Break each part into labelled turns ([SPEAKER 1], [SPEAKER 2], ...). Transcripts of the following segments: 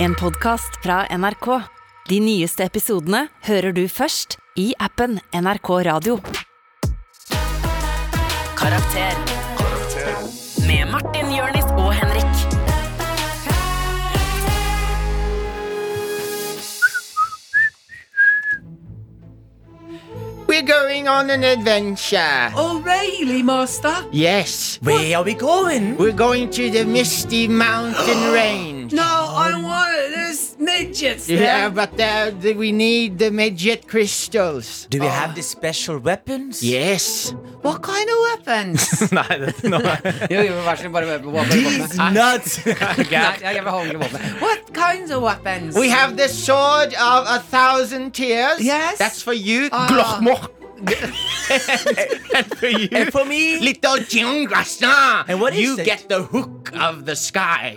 [SPEAKER 1] En podcast fra NRK. De nyeste episodene hører du først i appen NRK Radio. Karakter. Med Martin, Jørnis og Henrik.
[SPEAKER 2] We're going on an adventure.
[SPEAKER 3] O'Reilly, Master!
[SPEAKER 2] Yes,
[SPEAKER 4] Oh. Where are we going?
[SPEAKER 2] we're going to the Misty Mountain Range.
[SPEAKER 3] No, I don't want it. There's midgets there.
[SPEAKER 2] Oh. Yeah, but uh, th- we need the midget crystals.
[SPEAKER 4] Do we have the special weapons?
[SPEAKER 2] Yes.
[SPEAKER 3] What kind of weapons?
[SPEAKER 4] Nei, det, nå
[SPEAKER 3] jo, jo, vær så snill, bare våpen.
[SPEAKER 4] These nuts!
[SPEAKER 3] Nei, jeg vil ha ordentlig våpen. What kinds of weapons?
[SPEAKER 2] We have the sword of a thousand tears.
[SPEAKER 3] Yes.
[SPEAKER 2] That's for you.
[SPEAKER 3] Ah.
[SPEAKER 2] Glockmork. and for you.
[SPEAKER 4] And for me,
[SPEAKER 2] Little Jingrasna.
[SPEAKER 4] And what is
[SPEAKER 2] You
[SPEAKER 4] it?
[SPEAKER 2] get the hook of the sky.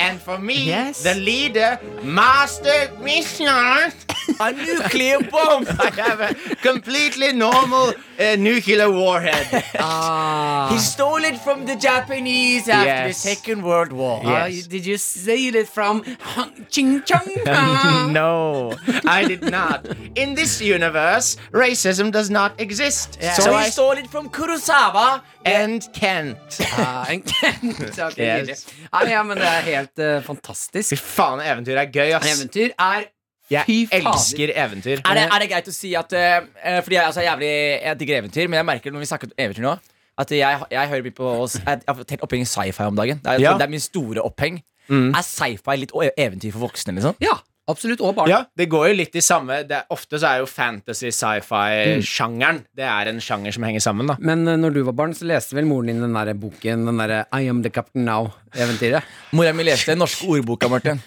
[SPEAKER 2] and for me,
[SPEAKER 3] Yes.
[SPEAKER 2] the leader, Master Mishnah.
[SPEAKER 4] a nuclear bomb!
[SPEAKER 2] I have a completely normal uh, nuclear warhead.
[SPEAKER 3] Ah.
[SPEAKER 4] He stole it from the Japanese after
[SPEAKER 2] Yes.
[SPEAKER 4] the Second World War.
[SPEAKER 2] Yeah.
[SPEAKER 3] Ah,
[SPEAKER 2] Yes.
[SPEAKER 3] did you steal it from Hong Ching Chong? Ah.
[SPEAKER 2] no, I did not. In this universe, racism does not exist.
[SPEAKER 4] So, Eh,
[SPEAKER 2] So
[SPEAKER 4] he
[SPEAKER 2] I
[SPEAKER 4] stole it from Kurosawa.
[SPEAKER 2] and Kent.
[SPEAKER 3] Ah, en Kent. Ok,
[SPEAKER 2] Yes.
[SPEAKER 3] nydelig. Ah, ja, men det er helt eh, fantastisk.
[SPEAKER 2] Fy faen, eventyr er gøy, ass.
[SPEAKER 3] Eventyr er
[SPEAKER 2] Jeg
[SPEAKER 3] Fy fader.
[SPEAKER 2] elsker eventyr.
[SPEAKER 4] Er det, er det greit å si at eh, eh, Fordi jeg, altså, jeg er jævlig Jeg digger eventyr, men jeg merker når vi snakker om eventyr nå at jeg, jeg hører mye på oss Jeg jeg har fått helt oppheng i sci-fi om dagen. Det er, sånn,
[SPEAKER 2] Ja.
[SPEAKER 4] det er min store oppheng. Er sci-fi litt o- eventyr for voksne? liksom?
[SPEAKER 3] Ja, absolutt. Og barn.
[SPEAKER 2] Ja, det går jo litt i samme det, er- Ofte så er jo fantasy, sci-fi-sjangeren Det er en sjanger som henger sammen, da.
[SPEAKER 3] Men eh, når du var barn, så leste vel moren din den der boken Den der eh, I am the captain now-eventyret?
[SPEAKER 4] Mora mi leste den norske ordboka, Martin.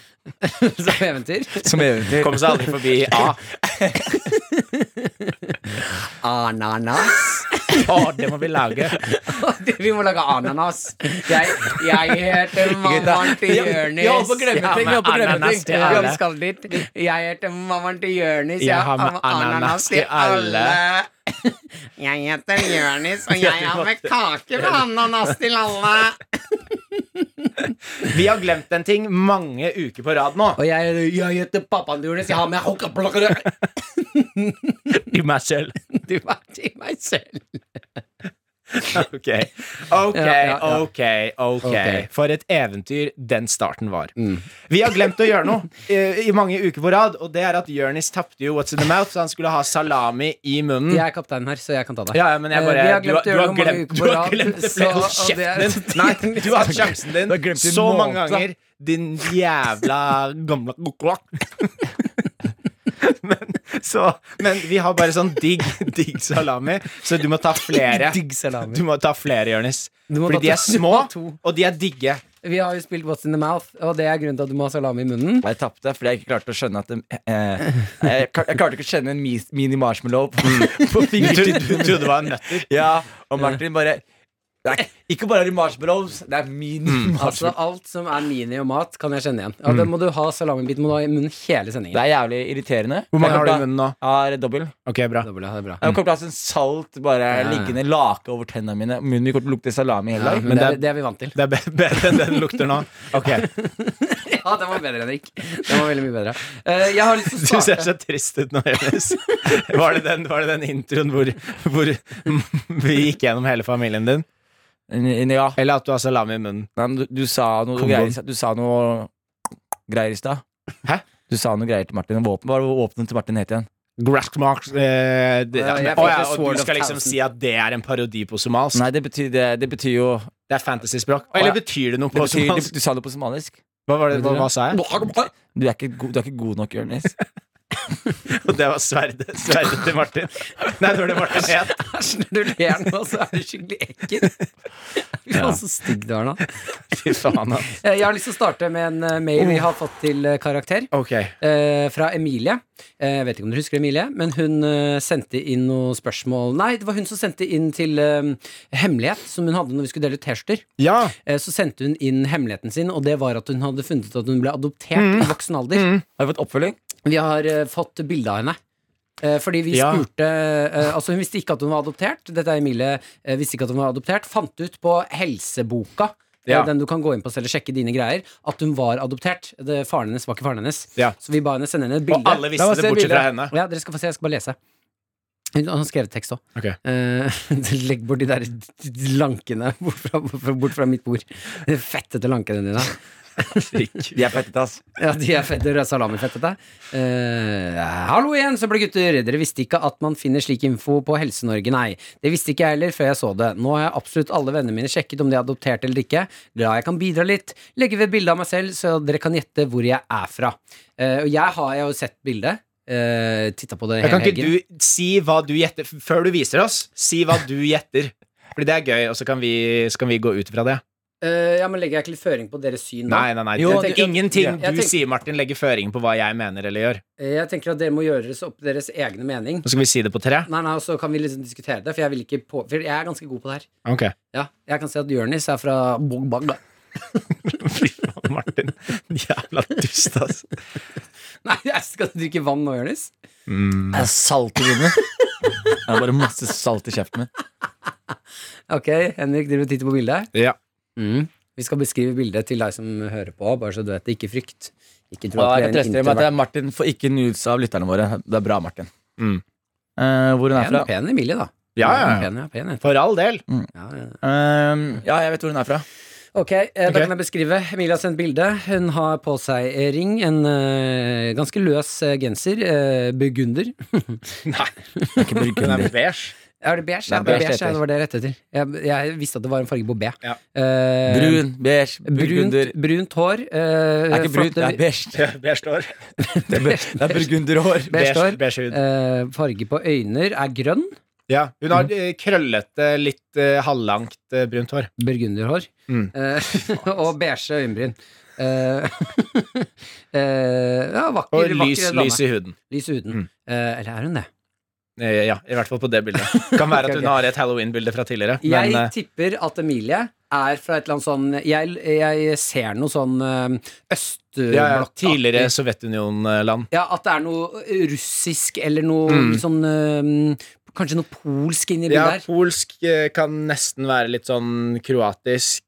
[SPEAKER 3] Som eventyr?
[SPEAKER 4] Som eventyr.
[SPEAKER 2] Kom seg aldri forbi Ah, A.
[SPEAKER 3] Ah, Ananas.
[SPEAKER 2] Å, det må vi lage.
[SPEAKER 3] Vi må lage ananas. Jeg, jeg heter mammaen til
[SPEAKER 4] Ja,
[SPEAKER 3] Jørnis.
[SPEAKER 4] vi holdt på å glemme
[SPEAKER 3] Jeg har
[SPEAKER 4] ting, vi holdt på å
[SPEAKER 3] med
[SPEAKER 4] glemme
[SPEAKER 3] ananas
[SPEAKER 2] ting.
[SPEAKER 3] til
[SPEAKER 2] Ja,
[SPEAKER 3] alle.
[SPEAKER 2] vi
[SPEAKER 3] skal dit. Jeg heter mammaen til Jørnis.
[SPEAKER 2] Jeg har med ananas til alle.
[SPEAKER 3] Jeg heter Jørnis, og jeg har med kake med ananas til alle.
[SPEAKER 2] Vi har glemt en ting mange uker på rad nå.
[SPEAKER 3] Og jeg,
[SPEAKER 2] Eh,
[SPEAKER 3] jeg heter pappaen til Jørnis. Jeg har med hokkaplokkere.
[SPEAKER 2] I meg selv.
[SPEAKER 3] Du var til meg selv.
[SPEAKER 2] Ok, ok,
[SPEAKER 3] Ja, ja, ja.
[SPEAKER 2] ok, ok
[SPEAKER 3] Ok. Mm.
[SPEAKER 2] For et eventyr den starten var Vi har glemt å gjøre noe eh, I mange uker på rad Og det er at Jørnis tappte jo What's in the Mouth Så han skulle ha salami i munnen
[SPEAKER 3] Jeg er kaptein her, så jeg kan ta det.
[SPEAKER 2] Mm. Ja, ja, men jeg
[SPEAKER 3] Eh,
[SPEAKER 2] bare
[SPEAKER 3] vi har
[SPEAKER 2] du, har-
[SPEAKER 3] glemt å
[SPEAKER 2] du
[SPEAKER 3] gjøre
[SPEAKER 2] har
[SPEAKER 3] noe mange
[SPEAKER 2] glemt, du
[SPEAKER 3] uker på
[SPEAKER 2] har
[SPEAKER 3] rad,
[SPEAKER 2] glemt det
[SPEAKER 3] så-
[SPEAKER 2] flere
[SPEAKER 3] og
[SPEAKER 2] Hold
[SPEAKER 3] det er-
[SPEAKER 2] kjeften din Nei, du har hatt sjansen din
[SPEAKER 4] Du har glemt det i
[SPEAKER 2] Så mange
[SPEAKER 4] måneder.
[SPEAKER 2] ganger Din jævla gamle kokolak men, så, men vi har bare sånn digg, digg salami Så du må ta flere
[SPEAKER 3] Digg salami.
[SPEAKER 2] Du må ta flere, Jørnis
[SPEAKER 3] Du må ta
[SPEAKER 2] Fordi de
[SPEAKER 3] to-
[SPEAKER 2] er små,
[SPEAKER 3] du må ha to.
[SPEAKER 2] og de er digge
[SPEAKER 3] Vi har jo spilt What's in the Mouth, og det er grunnen til at du må ha salami i munnen.
[SPEAKER 4] Jeg tapte fordi jeg ikke klarte å skjønne at det, eh, jeg, klar- jeg klarte ikke å kjenne en mis- mini marshmallow på, på
[SPEAKER 2] Mm. Du, trodde-
[SPEAKER 4] fingertuppen.
[SPEAKER 2] du trodde det var nøtter
[SPEAKER 4] Ja, og Martin bare Nei, ikke bare er det marshmallows, det
[SPEAKER 2] Mm.
[SPEAKER 4] er mini
[SPEAKER 3] Altså
[SPEAKER 4] marshmallows.
[SPEAKER 3] Alt som er mini og mat, kan jeg kjenne igjen. Ja, Da må du ha salamibit må du ha i munnen hele
[SPEAKER 4] Det
[SPEAKER 3] sendingen.
[SPEAKER 4] er jævlig irriterende.
[SPEAKER 2] Hvor mange
[SPEAKER 4] Jeg
[SPEAKER 2] har du i
[SPEAKER 4] kommer til å-
[SPEAKER 2] munnen nå?
[SPEAKER 4] Jeg har dobbel.
[SPEAKER 2] Ok, bra
[SPEAKER 3] Dobbelt, ja, det er bra.
[SPEAKER 4] Jeg kommer til å ha sånn salt bare
[SPEAKER 3] ja.
[SPEAKER 4] liggende lake over tennene mine. Munnen min kommer til å lukte salami hele
[SPEAKER 3] Ja,
[SPEAKER 4] dag.
[SPEAKER 3] men det,
[SPEAKER 2] det
[SPEAKER 3] er,
[SPEAKER 2] er-
[SPEAKER 3] det er vi vant til.
[SPEAKER 2] Det er be- bedre enn det den lukter nå Ok,
[SPEAKER 3] Ja, den var bedre, Henrik. Den var veldig mye bedre. Eh, jeg har lyst til
[SPEAKER 2] du
[SPEAKER 3] å
[SPEAKER 2] ser
[SPEAKER 3] starte.
[SPEAKER 2] så trist ut nå, Jonas Var det den, var det den introen hvor, hvor vi gikk gjennom hele familien din?
[SPEAKER 4] N- Ja,
[SPEAKER 2] Eller at du har salami i munnen?
[SPEAKER 4] Nei, men du, du sa noe
[SPEAKER 2] Kom
[SPEAKER 4] greier
[SPEAKER 2] igjen.
[SPEAKER 4] i stad- Du sa noe greier i stad.
[SPEAKER 2] Hæ?
[SPEAKER 4] Du sa noe greier til Martin. Våpen, hva var våpenet til Martin het igjen?
[SPEAKER 2] Grask marks eh, det,
[SPEAKER 3] Ja, jeg
[SPEAKER 2] Å
[SPEAKER 3] fikk
[SPEAKER 2] ja,
[SPEAKER 3] det
[SPEAKER 2] Og
[SPEAKER 3] Sword
[SPEAKER 2] du
[SPEAKER 3] of
[SPEAKER 2] skal liksom
[SPEAKER 3] Thousand.
[SPEAKER 2] si at det er en parodi på somals
[SPEAKER 4] Nei, det betyr, det, det betyr jo det
[SPEAKER 2] Det er fantasyspråk Eller
[SPEAKER 4] Å ja.
[SPEAKER 2] betyr det noe på
[SPEAKER 4] betyr,
[SPEAKER 2] somals?
[SPEAKER 4] det, Du sa det på somalisk.
[SPEAKER 2] Hva, var det, hva, hva sa jeg?
[SPEAKER 4] Du er ikke god, du er ikke god nok, Jonis.
[SPEAKER 2] Og det var sverdet Sverdet til Martin Nei, det var det Martin het
[SPEAKER 3] Æsj, når du ler nå, så er du skikkelig ekkel. Fy faen, så stygg du er nå.
[SPEAKER 2] Fy faen ass.
[SPEAKER 3] Eh, jeg har lyst til å starte med en eh, mail vi har fått til eh, karakter.
[SPEAKER 2] Ok
[SPEAKER 3] eh, fra Emilie. Eh, jeg vet ikke om du husker Emilie, men hun eh, sendte inn noen spørsmål Nei, det var hun som sendte inn til eh, hemmelighet, som hun hadde når vi skulle dele ut T-skjorter.
[SPEAKER 2] Ja
[SPEAKER 3] Eh, så sendte hun inn hemmeligheten sin, og det var at hun hadde funnet ut at hun ble adoptert
[SPEAKER 2] Mm.
[SPEAKER 3] i voksen alder.
[SPEAKER 4] Har du fått oppfølging?
[SPEAKER 3] Vi har eh, fått bilde av henne. Eh, Fordi vi
[SPEAKER 2] Ja.
[SPEAKER 3] spurte eh, Altså Hun visste ikke at hun var adoptert. Dette er Emilie eh, visste ikke at hun var adoptert Fant ut på helseboka
[SPEAKER 2] Ja.
[SPEAKER 3] eh, den du kan gå inn på selv og sjekke dine greier, at hun var adoptert. Det, faren hennes var ikke faren hennes.
[SPEAKER 2] Ja.
[SPEAKER 3] Så vi ba henne sende henne et bilde.
[SPEAKER 2] Og alle
[SPEAKER 3] Da
[SPEAKER 2] visste
[SPEAKER 3] må
[SPEAKER 2] det,
[SPEAKER 3] jeg se
[SPEAKER 2] bortsett
[SPEAKER 3] bildet.
[SPEAKER 2] fra henne.
[SPEAKER 3] Ja, dere skal få se, jeg skal bare lese. Hun han har skrevet tekst òg.
[SPEAKER 2] Ok.
[SPEAKER 3] legg Eh, bort de der lankene bort fra, bort fra mitt bord. De fettete lankene dine.
[SPEAKER 4] De er fettete, ass.
[SPEAKER 3] Ja, de er fette, rød salamifettete. Eh, hallo igjen, søppel gutter! Dere visste ikke at man finner slik info på Helse-Norge, nei. Det visste ikke jeg heller før jeg så det. Nå har jeg absolutt alle vennene mine sjekket om de er adoptert eller ikke. Glad jeg kan bidra litt. Legge ved bilde av meg selv, så dere kan gjette hvor jeg er fra. Eh, og jeg har jeg har jo sett bildet. Uh, Titta på det
[SPEAKER 2] Jeg
[SPEAKER 3] hele
[SPEAKER 2] kan ikke
[SPEAKER 3] helgen.
[SPEAKER 2] du si hva du gjetter f- Før du viser oss, si hva du gjetter. Fordi det er gøy, og så kan vi, så kan vi gå ut fra det.
[SPEAKER 3] Eh, ja, men legger jeg ikke litt føring på deres syn nå?
[SPEAKER 2] Nei, nei, nei.
[SPEAKER 4] Jo,
[SPEAKER 2] det-
[SPEAKER 4] jeg tenker-
[SPEAKER 2] ingenting
[SPEAKER 4] Ja,
[SPEAKER 3] jeg
[SPEAKER 2] du
[SPEAKER 3] tenker-
[SPEAKER 2] sier, Martin, legger føringer på hva jeg mener eller gjør.
[SPEAKER 3] Eh, jeg tenker at dere må gjøre deres opp deres egne mening.
[SPEAKER 2] Nå skal vi si det på tre.
[SPEAKER 3] Nei, nei, og så kan vi liksom diskutere det, for jeg vil ikke på... For jeg er ganske god på det her.
[SPEAKER 2] Ok.
[SPEAKER 3] Ja, jeg kan si at Jonis er fra Bogbagda.
[SPEAKER 2] Fy faen, Martin. Jævla dust, ass.
[SPEAKER 3] Nei, jeg skal du drikke vann nå, Jonis?
[SPEAKER 4] Det er Mm. salt i munnen. Det er bare masse salt i kjeften min.
[SPEAKER 3] Ok, Henrik, driver og titter på bildet.
[SPEAKER 2] Ja.
[SPEAKER 4] Mm.
[SPEAKER 3] Vi skal beskrive bildet til deg som hører på, bare så du vet det. Ikke frykt. Ikke tro
[SPEAKER 4] Og
[SPEAKER 3] at du
[SPEAKER 4] jeg kan
[SPEAKER 3] er
[SPEAKER 4] trøste
[SPEAKER 3] en
[SPEAKER 4] dere med at det
[SPEAKER 3] introvert.
[SPEAKER 4] er Martin får ikke nudes av lytterne våre. Det er bra, Martin.
[SPEAKER 2] Mm.
[SPEAKER 4] Eh, hvor hun er
[SPEAKER 3] Pen,
[SPEAKER 4] fra?
[SPEAKER 3] pen Emilie, da.
[SPEAKER 2] Ja, ja, ja.
[SPEAKER 3] Pen, ja, pen, jente.
[SPEAKER 2] For all del.
[SPEAKER 3] ja, ja.
[SPEAKER 4] Eh, ja, jeg vet hvor hun er fra.
[SPEAKER 3] Ok, eh,
[SPEAKER 2] Ok.
[SPEAKER 3] da kan jeg beskrive. Emilie har sendt bilde. Hun har på seg eh, ring, en eh, ganske løs eh, genser. eh, burgunder.
[SPEAKER 2] Nei,
[SPEAKER 4] Ikke
[SPEAKER 2] hun er
[SPEAKER 4] burgunder.
[SPEAKER 2] beige.
[SPEAKER 3] Er det beige?
[SPEAKER 4] Det
[SPEAKER 3] Ja,
[SPEAKER 4] er
[SPEAKER 3] det, er beige,
[SPEAKER 4] beige
[SPEAKER 3] ja,
[SPEAKER 4] heter.
[SPEAKER 3] det var det jeg rette etter. Jeg, jeg visste at det var en farge på B.
[SPEAKER 2] Ja.
[SPEAKER 3] Eh,
[SPEAKER 4] Brun, beige,
[SPEAKER 3] Brunt,
[SPEAKER 4] burgunder.
[SPEAKER 3] brunt hår. eh,
[SPEAKER 4] Det er ikke brunt, det
[SPEAKER 3] flotte-
[SPEAKER 4] er beige.
[SPEAKER 2] Ja, Beige hår.
[SPEAKER 4] Det er, be- det er burgunderhår.
[SPEAKER 3] Beige hår.
[SPEAKER 2] Beige hud.
[SPEAKER 3] Eh, farge på øyner er grønn.
[SPEAKER 2] Ja. Hun har eh, krøllete, litt eh, halvlangt eh, brunt hår.
[SPEAKER 3] Burgunderhår.
[SPEAKER 2] Mm.
[SPEAKER 3] Eh, og beige øyenbryn. Eh, eh, ja, vakker,
[SPEAKER 2] Og
[SPEAKER 3] vakker
[SPEAKER 2] lys,
[SPEAKER 3] dame.
[SPEAKER 2] lys i huden.
[SPEAKER 3] Lys i huden.
[SPEAKER 2] Mm.
[SPEAKER 3] Eh, eller er hun det?
[SPEAKER 2] Eh, Ja, i hvert fall på det bildet. Kan være at
[SPEAKER 3] Ok,
[SPEAKER 2] hun
[SPEAKER 3] ok.
[SPEAKER 2] har et Halloween-bilde fra tidligere.
[SPEAKER 3] Jeg
[SPEAKER 2] Men eh,
[SPEAKER 3] tipper at Emilie er fra et eller annet sånn Jeg, jeg ser noe sånn eh, østblokk
[SPEAKER 2] ja, ja, tidligere Sovjetunionland.
[SPEAKER 3] Ja, at det er noe eh, russisk eller noe
[SPEAKER 2] Mm.
[SPEAKER 3] sånn eh, Kanskje noe polsk inni
[SPEAKER 2] Ja,
[SPEAKER 3] bildet her.
[SPEAKER 2] polsk eh, kan nesten være litt sånn kroatisk,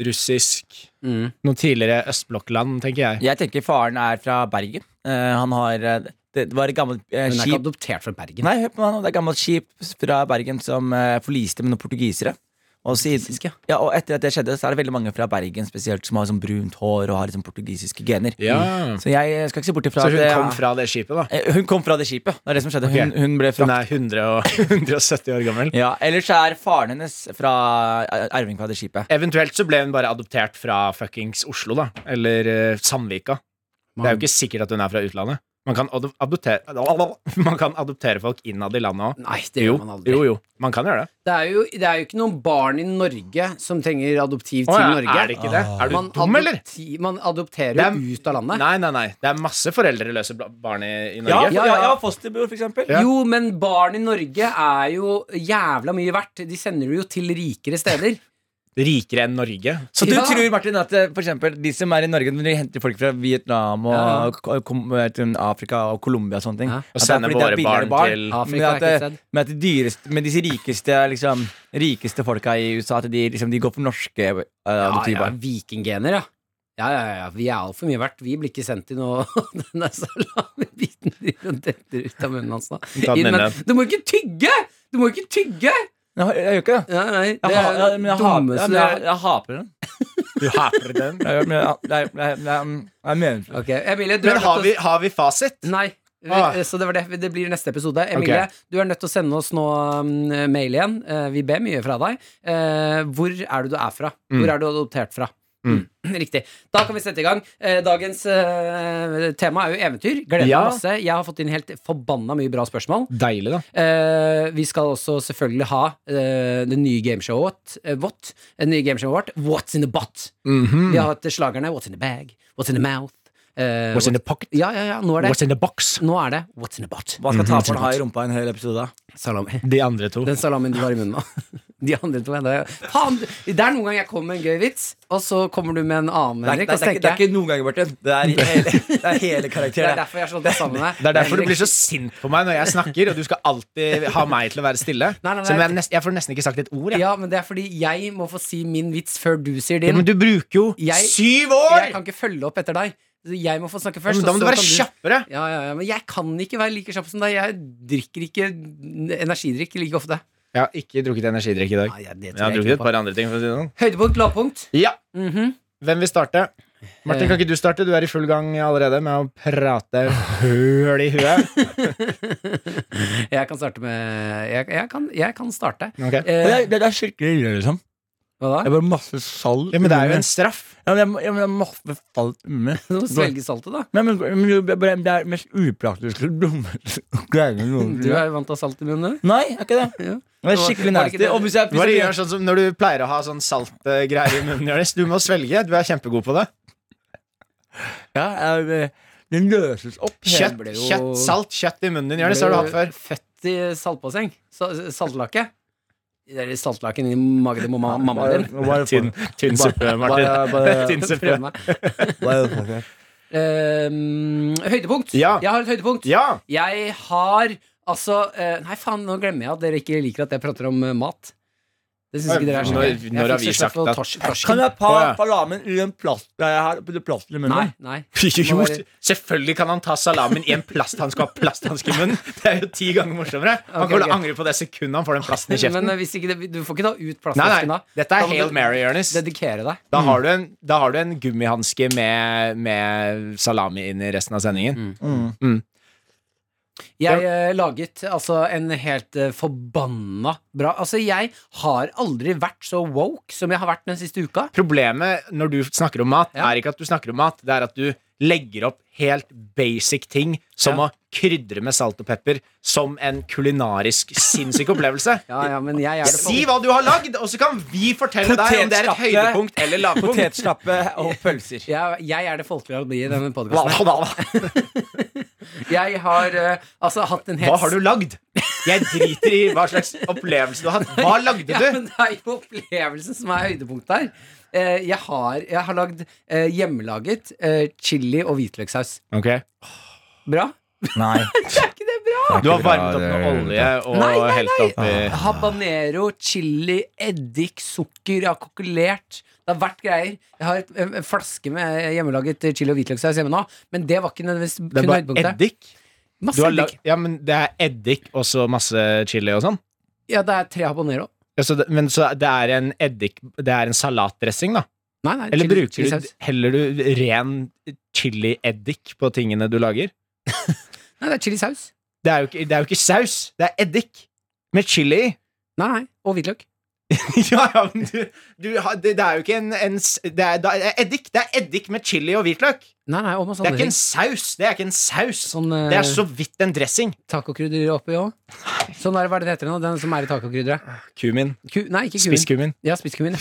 [SPEAKER 2] russisk
[SPEAKER 3] Mm.
[SPEAKER 2] Noe tidligere østblokkland, tenker jeg.
[SPEAKER 4] Jeg tenker faren er fra Bergen. Eh, han har eh, Det var et gammelt eh,
[SPEAKER 3] Hun er ikke
[SPEAKER 4] skip
[SPEAKER 3] adoptert fra Bergen.
[SPEAKER 4] Nei, hør på meg nå. Det er et gammelt skip fra Bergen som eh, forliste med noen portugisere. Og, siden,
[SPEAKER 3] Russisk, ja.
[SPEAKER 4] ja, og etter at det skjedde, så er det veldig mange fra Bergen spesielt som har sånn brunt hår og har liksom portugisiske gener.
[SPEAKER 3] Mm.
[SPEAKER 2] Ja.
[SPEAKER 4] Så jeg eh, skal ikke se bort ifra
[SPEAKER 2] Så hun
[SPEAKER 4] at, eh,
[SPEAKER 2] kom fra det skipet, da?
[SPEAKER 4] eh, Hun kom fra det skipet. Det er det som skjedde. Hun,
[SPEAKER 2] Ok.
[SPEAKER 4] hun ble
[SPEAKER 2] Hun
[SPEAKER 4] fra
[SPEAKER 2] er 100 og, 170 år gammel.
[SPEAKER 4] ja, Ellers er faren hennes fra eh, arving fra det skipet.
[SPEAKER 2] Eventuelt så ble hun bare adoptert fra fuckings Oslo, da. Eller eh, Sandvika. Det er jo ikke sikkert at hun er fra utlandet. Man kan, ado- adoptere, man kan adoptere folk innad i landet òg.
[SPEAKER 3] Nei, det
[SPEAKER 2] Jo,
[SPEAKER 3] gjør man aldri.
[SPEAKER 2] jo, jo. Man kan gjøre det.
[SPEAKER 3] Det er, jo, det er jo ikke noen barn i Norge som trenger adoptiv til
[SPEAKER 2] Å, ja,
[SPEAKER 3] Norge.
[SPEAKER 2] Er det ikke det? Er du
[SPEAKER 3] Man,
[SPEAKER 2] dum, eller?
[SPEAKER 3] adopti- man adopterer
[SPEAKER 2] Ah. Det er-
[SPEAKER 3] jo ut av landet.
[SPEAKER 2] Nei, nei, nei. Det er masse foreldreløse bla- barn i, i
[SPEAKER 4] Ja,
[SPEAKER 2] Norge.
[SPEAKER 4] ja,
[SPEAKER 3] ja,
[SPEAKER 4] ja,
[SPEAKER 3] ja.
[SPEAKER 4] fosterbror, for eksempel.
[SPEAKER 2] Ja.
[SPEAKER 3] Jo, men barn i Norge er jo jævla mye verdt. De sender du jo til rikere steder.
[SPEAKER 2] Rikere enn Norge.
[SPEAKER 4] Så du
[SPEAKER 3] Ja.
[SPEAKER 4] tror Martin, at eh, for eksempel, de som er i Norge, når de henter folk fra Vietnam og
[SPEAKER 3] Ja.
[SPEAKER 4] ko- kom, eh, til Afrika og Colombia og sånne ting
[SPEAKER 3] Ja.
[SPEAKER 4] at
[SPEAKER 2] Og
[SPEAKER 4] det er
[SPEAKER 2] sende
[SPEAKER 4] fordi det er
[SPEAKER 2] våre
[SPEAKER 4] billigere
[SPEAKER 2] barn til-
[SPEAKER 3] Afrika er
[SPEAKER 4] men at,
[SPEAKER 3] ikke et
[SPEAKER 4] eh,
[SPEAKER 3] sted.
[SPEAKER 4] men at de dyreste, men disse rikeste liksom, rikeste folka i USA, at de, liksom, de går for norske eh,
[SPEAKER 3] Ja, ja,
[SPEAKER 4] adoptivbarn.
[SPEAKER 3] vikinggener, ja. Ja, ja, ja, vi er altfor mye verdt. Vi blir ikke sendt til noe Den der salamibiten driver og detter ut av munnen hans nå.
[SPEAKER 2] Ta den
[SPEAKER 3] Inn, men,
[SPEAKER 2] inne.
[SPEAKER 3] du må ikke tygge! Du må ikke tygge!
[SPEAKER 4] Nei, Jeg jeg gjør ikke det.
[SPEAKER 3] Nei, nei,
[SPEAKER 4] Jeg,
[SPEAKER 3] det
[SPEAKER 4] ha,
[SPEAKER 3] er
[SPEAKER 4] ja,
[SPEAKER 3] det
[SPEAKER 4] men jeg, ha, ja, men
[SPEAKER 3] dummeste
[SPEAKER 4] jeg, jeg hater den.
[SPEAKER 2] Du hater den.
[SPEAKER 4] Jeg, gjør- men jeg, jeg, jeg, jeg, jeg mener det.
[SPEAKER 3] Ok, Emilie, du er
[SPEAKER 2] Men
[SPEAKER 3] nødt
[SPEAKER 2] har
[SPEAKER 3] til å-
[SPEAKER 2] vi, har vi fasit?
[SPEAKER 3] Nei. Vi,
[SPEAKER 2] Ah.
[SPEAKER 3] Så det var det. Det blir neste episode. Emilie, du er nødt til å sende oss nå mm, mail igjen. Eh, vi ber mye fra deg. Eh, hvor er det du er fra? Hvor er du adoptert fra?
[SPEAKER 2] Mm.
[SPEAKER 3] Riktig. Da kan vi sette i gang. Eh, dagens eh, tema er jo eventyr. Gleder
[SPEAKER 2] Ja.
[SPEAKER 3] meg masse. Jeg har fått inn helt forbanna mye bra spørsmål.
[SPEAKER 2] Deilig, da.
[SPEAKER 3] Eh, vi skal også selvfølgelig ha eh, det nye gameshowet eh, What?
[SPEAKER 2] Mhm.
[SPEAKER 3] Det nye gameshowet vårt, What's in the butt? Vi har hatt slagerne What's in the bag? What's in the mouth? eh,
[SPEAKER 2] What's in the pocket?
[SPEAKER 3] Ja, ja, ja, nå er det
[SPEAKER 2] What's in the box?
[SPEAKER 3] Nå er det What's in a bot?
[SPEAKER 5] Hva
[SPEAKER 2] Mhm.
[SPEAKER 5] skal taperen ha i rumpa i en hel episode? da?
[SPEAKER 3] Salami.
[SPEAKER 2] De andre to.
[SPEAKER 3] Den salamien du har i munnen nå. De andre to er det. Faen, du- det er noen gang jeg kommer med en gøy vits, og så kommer du med en annen,
[SPEAKER 5] Det er, det, er,
[SPEAKER 3] Henrik. og
[SPEAKER 5] det,
[SPEAKER 3] så
[SPEAKER 5] er, ikke- det er
[SPEAKER 3] tenker jeg,
[SPEAKER 5] ikke noen ganger, Martin. Det er hele, det er hele
[SPEAKER 3] det er
[SPEAKER 5] karakteren.
[SPEAKER 3] derfor jeg har slått det sammen med
[SPEAKER 2] Det er derfor du blir så sint på meg når jeg snakker, og du skal alltid ha meg til å være stille.
[SPEAKER 3] Nei, nei, nei.
[SPEAKER 2] Selv om jeg, nest, jeg får nesten ikke sagt et ord. Jeg.
[SPEAKER 3] Ja, men det er fordi jeg må få si min vits før du sier
[SPEAKER 2] Ja,
[SPEAKER 3] din.
[SPEAKER 2] men du bruker jo
[SPEAKER 3] Jeg-
[SPEAKER 2] syv
[SPEAKER 3] Jeg
[SPEAKER 2] år!
[SPEAKER 3] kan ikke følge opp etter deg. Så Jeg må få snakke
[SPEAKER 2] Ja,
[SPEAKER 3] først.
[SPEAKER 2] men da må
[SPEAKER 3] og
[SPEAKER 2] du
[SPEAKER 3] så
[SPEAKER 2] være
[SPEAKER 3] kan
[SPEAKER 2] kjappere.
[SPEAKER 3] Ja, ja, ja, men jeg kan ikke være like kjapp som deg. Jeg drikker ikke energidrikk like ofte.
[SPEAKER 2] Jeg har ikke drukket energidrikk i dag.
[SPEAKER 3] Nei, jeg-
[SPEAKER 2] Men
[SPEAKER 3] det tror
[SPEAKER 2] jeg har
[SPEAKER 3] jeg
[SPEAKER 2] drukket
[SPEAKER 3] ikke
[SPEAKER 2] et
[SPEAKER 3] noe på.
[SPEAKER 2] par andre ting. For å si det sånn.
[SPEAKER 3] Høydepunkt, lavpunkt.
[SPEAKER 2] Ja,
[SPEAKER 3] Mhm.
[SPEAKER 2] Hvem vil starte? Martin, kan ikke du starte? Du er i full gang allerede med å prate høl i huet.
[SPEAKER 3] Jeg kan starte med Jeg, jeg, kan, jeg kan starte.
[SPEAKER 2] Ok.
[SPEAKER 3] Eh,
[SPEAKER 5] det, er skikkelig ille, liksom.
[SPEAKER 3] hva da?
[SPEAKER 5] bare masse salt
[SPEAKER 2] Ja, men det er jo en straff.
[SPEAKER 5] Ja, men jeg, må- jeg, må- jeg må få falt med.
[SPEAKER 3] Du må svelge saltet, da.
[SPEAKER 5] Nei, men, men det er bare- det er mest upraktiske dummeste greiene
[SPEAKER 2] Mm,
[SPEAKER 5] noensinne.
[SPEAKER 3] Du er jo vant til å ha salt i munnen. du.
[SPEAKER 5] Nei, er ikke det?
[SPEAKER 3] Ja.
[SPEAKER 5] Det er
[SPEAKER 3] Var-
[SPEAKER 5] skikkelig
[SPEAKER 3] var det ikke
[SPEAKER 5] nasty.
[SPEAKER 3] det?
[SPEAKER 5] Og hvis jeg,
[SPEAKER 2] Bare
[SPEAKER 5] hvis
[SPEAKER 2] gjør
[SPEAKER 5] jeg,
[SPEAKER 2] sånn som når du pleier å ha sånn saltgreier i munnen. Jonis. Du må svelge. Du er kjempegod på det.
[SPEAKER 5] ja, jeg, eh, det løses opp.
[SPEAKER 2] Kjøtt,
[SPEAKER 3] ble jo-
[SPEAKER 2] kjøtt, salt, kjøtt i munnen din. Jonis, har du hatt før.
[SPEAKER 3] Født i saltbasseng. Sa- Saltlake. Det er saltlaken i magen til mamma, mamma din.
[SPEAKER 5] Bare-
[SPEAKER 2] Tynn, tynn suppe,
[SPEAKER 5] bare- bare-
[SPEAKER 2] Martin. Tynn
[SPEAKER 3] Prøv
[SPEAKER 2] suppe.
[SPEAKER 3] meg.
[SPEAKER 5] bare- bare-
[SPEAKER 3] Ehm, høydepunkt.
[SPEAKER 2] Ja.
[SPEAKER 3] Jeg har et høydepunkt.
[SPEAKER 2] Ja!
[SPEAKER 3] Jeg har altså eh, Nei, faen, nå glemmer jeg at dere ikke liker at jeg prater om eh, mat. Det syns ikke dere er så
[SPEAKER 2] Når-
[SPEAKER 3] gøy.
[SPEAKER 2] når har vi sagt at-
[SPEAKER 5] Kan
[SPEAKER 3] at
[SPEAKER 5] jeg ta
[SPEAKER 2] Å, ja.
[SPEAKER 5] salamen i en plast Nei, jeg har på det plasten i munnen?
[SPEAKER 3] Nei, nei.
[SPEAKER 2] Jo,
[SPEAKER 3] Må være-
[SPEAKER 2] selvfølgelig kan han ta salamen i en plasthanske og ha plasthanske i munnen. Det er jo ti ganger morsommere. Han
[SPEAKER 3] Ok,
[SPEAKER 2] kommer
[SPEAKER 3] ok.
[SPEAKER 2] til å angre på det sekundet han får den plasten i kjeften.
[SPEAKER 3] Men eh, hvis ikke det, du får ikke ta ut
[SPEAKER 2] Nei, nei,
[SPEAKER 3] plasthanken da.
[SPEAKER 2] dette
[SPEAKER 3] Da
[SPEAKER 2] er
[SPEAKER 3] må
[SPEAKER 2] Hail
[SPEAKER 3] du
[SPEAKER 2] Mary, Jonis.
[SPEAKER 3] Dedikere deg.
[SPEAKER 2] Da har du en, da har du en gummihanske med, med salami inn i resten av sendingen.
[SPEAKER 3] Mm. Jeg eh, laget altså en helt eh, forbanna bra Altså, jeg har aldri vært så woke som jeg har vært den siste uka.
[SPEAKER 2] Problemet når du snakker om mat,
[SPEAKER 3] Ja.
[SPEAKER 2] er ikke at du snakker om mat, det er at du legger opp helt basic ting som
[SPEAKER 3] Ja.
[SPEAKER 2] å krydre med salt og pepper som en kulinarisk sinnssyk opplevelse.
[SPEAKER 3] Ja, ja, men jeg er det
[SPEAKER 2] Si hva du har lagd, og så kan vi fortelle deg om det er et
[SPEAKER 5] Potetstappe.
[SPEAKER 2] høydepunkt eller lavpunkt.
[SPEAKER 5] Potetstappe og pølser.
[SPEAKER 3] jeg, jeg er det folkelige alibiet i denne
[SPEAKER 2] Hva,
[SPEAKER 3] podkasten.
[SPEAKER 2] hva, hva?
[SPEAKER 3] Jeg har eh, altså hatt en helt
[SPEAKER 2] Hva har du lagd? Jeg driter i hva slags opplevelse du har hatt. Hva lagde
[SPEAKER 3] Ja,
[SPEAKER 2] du?
[SPEAKER 3] men det er jo opplevelsen som er høydepunktet her. Eh, jeg, har, jeg har lagd eh, hjemmelaget eh, chili og hvitløkssaus. Bra?
[SPEAKER 5] Nei.
[SPEAKER 3] Er ikke det bra?
[SPEAKER 2] Du har varmet opp
[SPEAKER 4] eh,
[SPEAKER 2] med olje
[SPEAKER 3] Nei, Ah.
[SPEAKER 2] og helt opp i
[SPEAKER 3] Habanero, chili, eddik, sukker. Jeg har kokkelert. Det har vært greier. Jeg har et, en en flaske med hjemmelaget chili og hvitløkssaus hjemme nå, men det var ikke nødvendigvis
[SPEAKER 2] Det er
[SPEAKER 3] kun
[SPEAKER 2] bare
[SPEAKER 3] høydepunktet.
[SPEAKER 2] eddik. Du
[SPEAKER 3] Masse
[SPEAKER 2] har lag-
[SPEAKER 3] eddik.
[SPEAKER 2] ja, men det er eddik og så masse chili og sånn.
[SPEAKER 3] Ja, det er tre habanero.
[SPEAKER 2] Ja, så det, men så det er en eddik Det er en salatdressing, da?
[SPEAKER 3] Nei, nei,
[SPEAKER 2] Eller
[SPEAKER 3] chili,
[SPEAKER 2] bruker du
[SPEAKER 3] chilisaus.
[SPEAKER 2] Heller du ren chilieddik på tingene du lager?
[SPEAKER 3] Nei, det er chilisaus.
[SPEAKER 2] Det er jo ikke, det er jo ikke saus. Det er eddik med chili i.
[SPEAKER 3] Nei, nei. Og hvitløk.
[SPEAKER 2] Ja, ja, men du, du har, det, det er jo ikke en, en s- det, er, det er eddik. Det er eddik med chili og hvitløk.
[SPEAKER 3] Nei, nei, og masse
[SPEAKER 2] Det er
[SPEAKER 3] andre
[SPEAKER 2] ikke
[SPEAKER 3] ting.
[SPEAKER 2] en saus. Det er ikke en saus.
[SPEAKER 3] Sånn, eh,
[SPEAKER 2] Det er så vidt en dressing.
[SPEAKER 3] Tacokrydder oppi òg. Sånn er det, hva er det det heter nå? Den som er i tacokrydderet?
[SPEAKER 2] Kumin.
[SPEAKER 3] Ku, nei, ikke kummin.
[SPEAKER 2] Spisskummin.
[SPEAKER 3] Ja, spisskummin.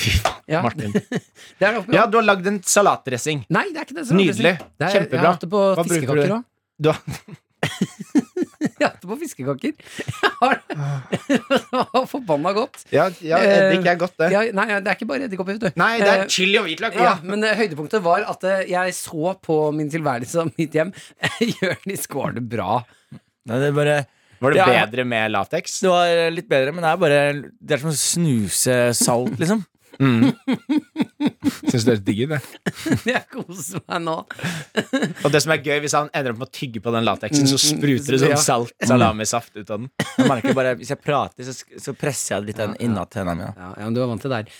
[SPEAKER 3] Ja,
[SPEAKER 2] Martin.
[SPEAKER 3] det er det oppi
[SPEAKER 2] Ja,
[SPEAKER 3] også.
[SPEAKER 2] du har lagd en salatdressing.
[SPEAKER 3] Nei, det er ikke det. som er
[SPEAKER 2] Nydelig.
[SPEAKER 3] oppi. Det er, Jeg
[SPEAKER 2] Kjempebra.
[SPEAKER 3] har hatt det på
[SPEAKER 2] Hva bruker du
[SPEAKER 3] fiskekaker
[SPEAKER 2] det?
[SPEAKER 3] òg.
[SPEAKER 2] Du har,
[SPEAKER 3] Jeg har hatt det på fiskekaker. Jeg har det var forbanna godt.
[SPEAKER 2] ja, ja,
[SPEAKER 3] Eh,
[SPEAKER 2] eddik er godt, det.
[SPEAKER 3] Ja, nei, det er ikke bare edderkopp, vet du.
[SPEAKER 2] Nei, det
[SPEAKER 3] Eh,
[SPEAKER 2] er chili og hvitløk.
[SPEAKER 3] ja,
[SPEAKER 2] hva?
[SPEAKER 3] men eh, høydepunktet var at eh, jeg så på min tilværelse av mitt hjem. Jonis går det bra.
[SPEAKER 5] Nei, det er bare
[SPEAKER 2] Var det
[SPEAKER 5] Ja.
[SPEAKER 2] bedre med lateks?
[SPEAKER 5] Det var litt bedre, men det er bare Det er som å snuse salt, liksom.
[SPEAKER 2] Syns du det er digg, det?
[SPEAKER 3] Jeg koser meg nå.
[SPEAKER 2] Og det som er gøy, hvis han ender opp med å tygge på den lateksen, så spruter det
[SPEAKER 3] Mm. Ja.
[SPEAKER 2] sånn salt, salamisaft ut av den.
[SPEAKER 5] Jeg merker bare Hvis jeg prater, så, sk- så presser jeg det litt innat hendene mine.
[SPEAKER 3] Ja, ja, men du er vant til det der.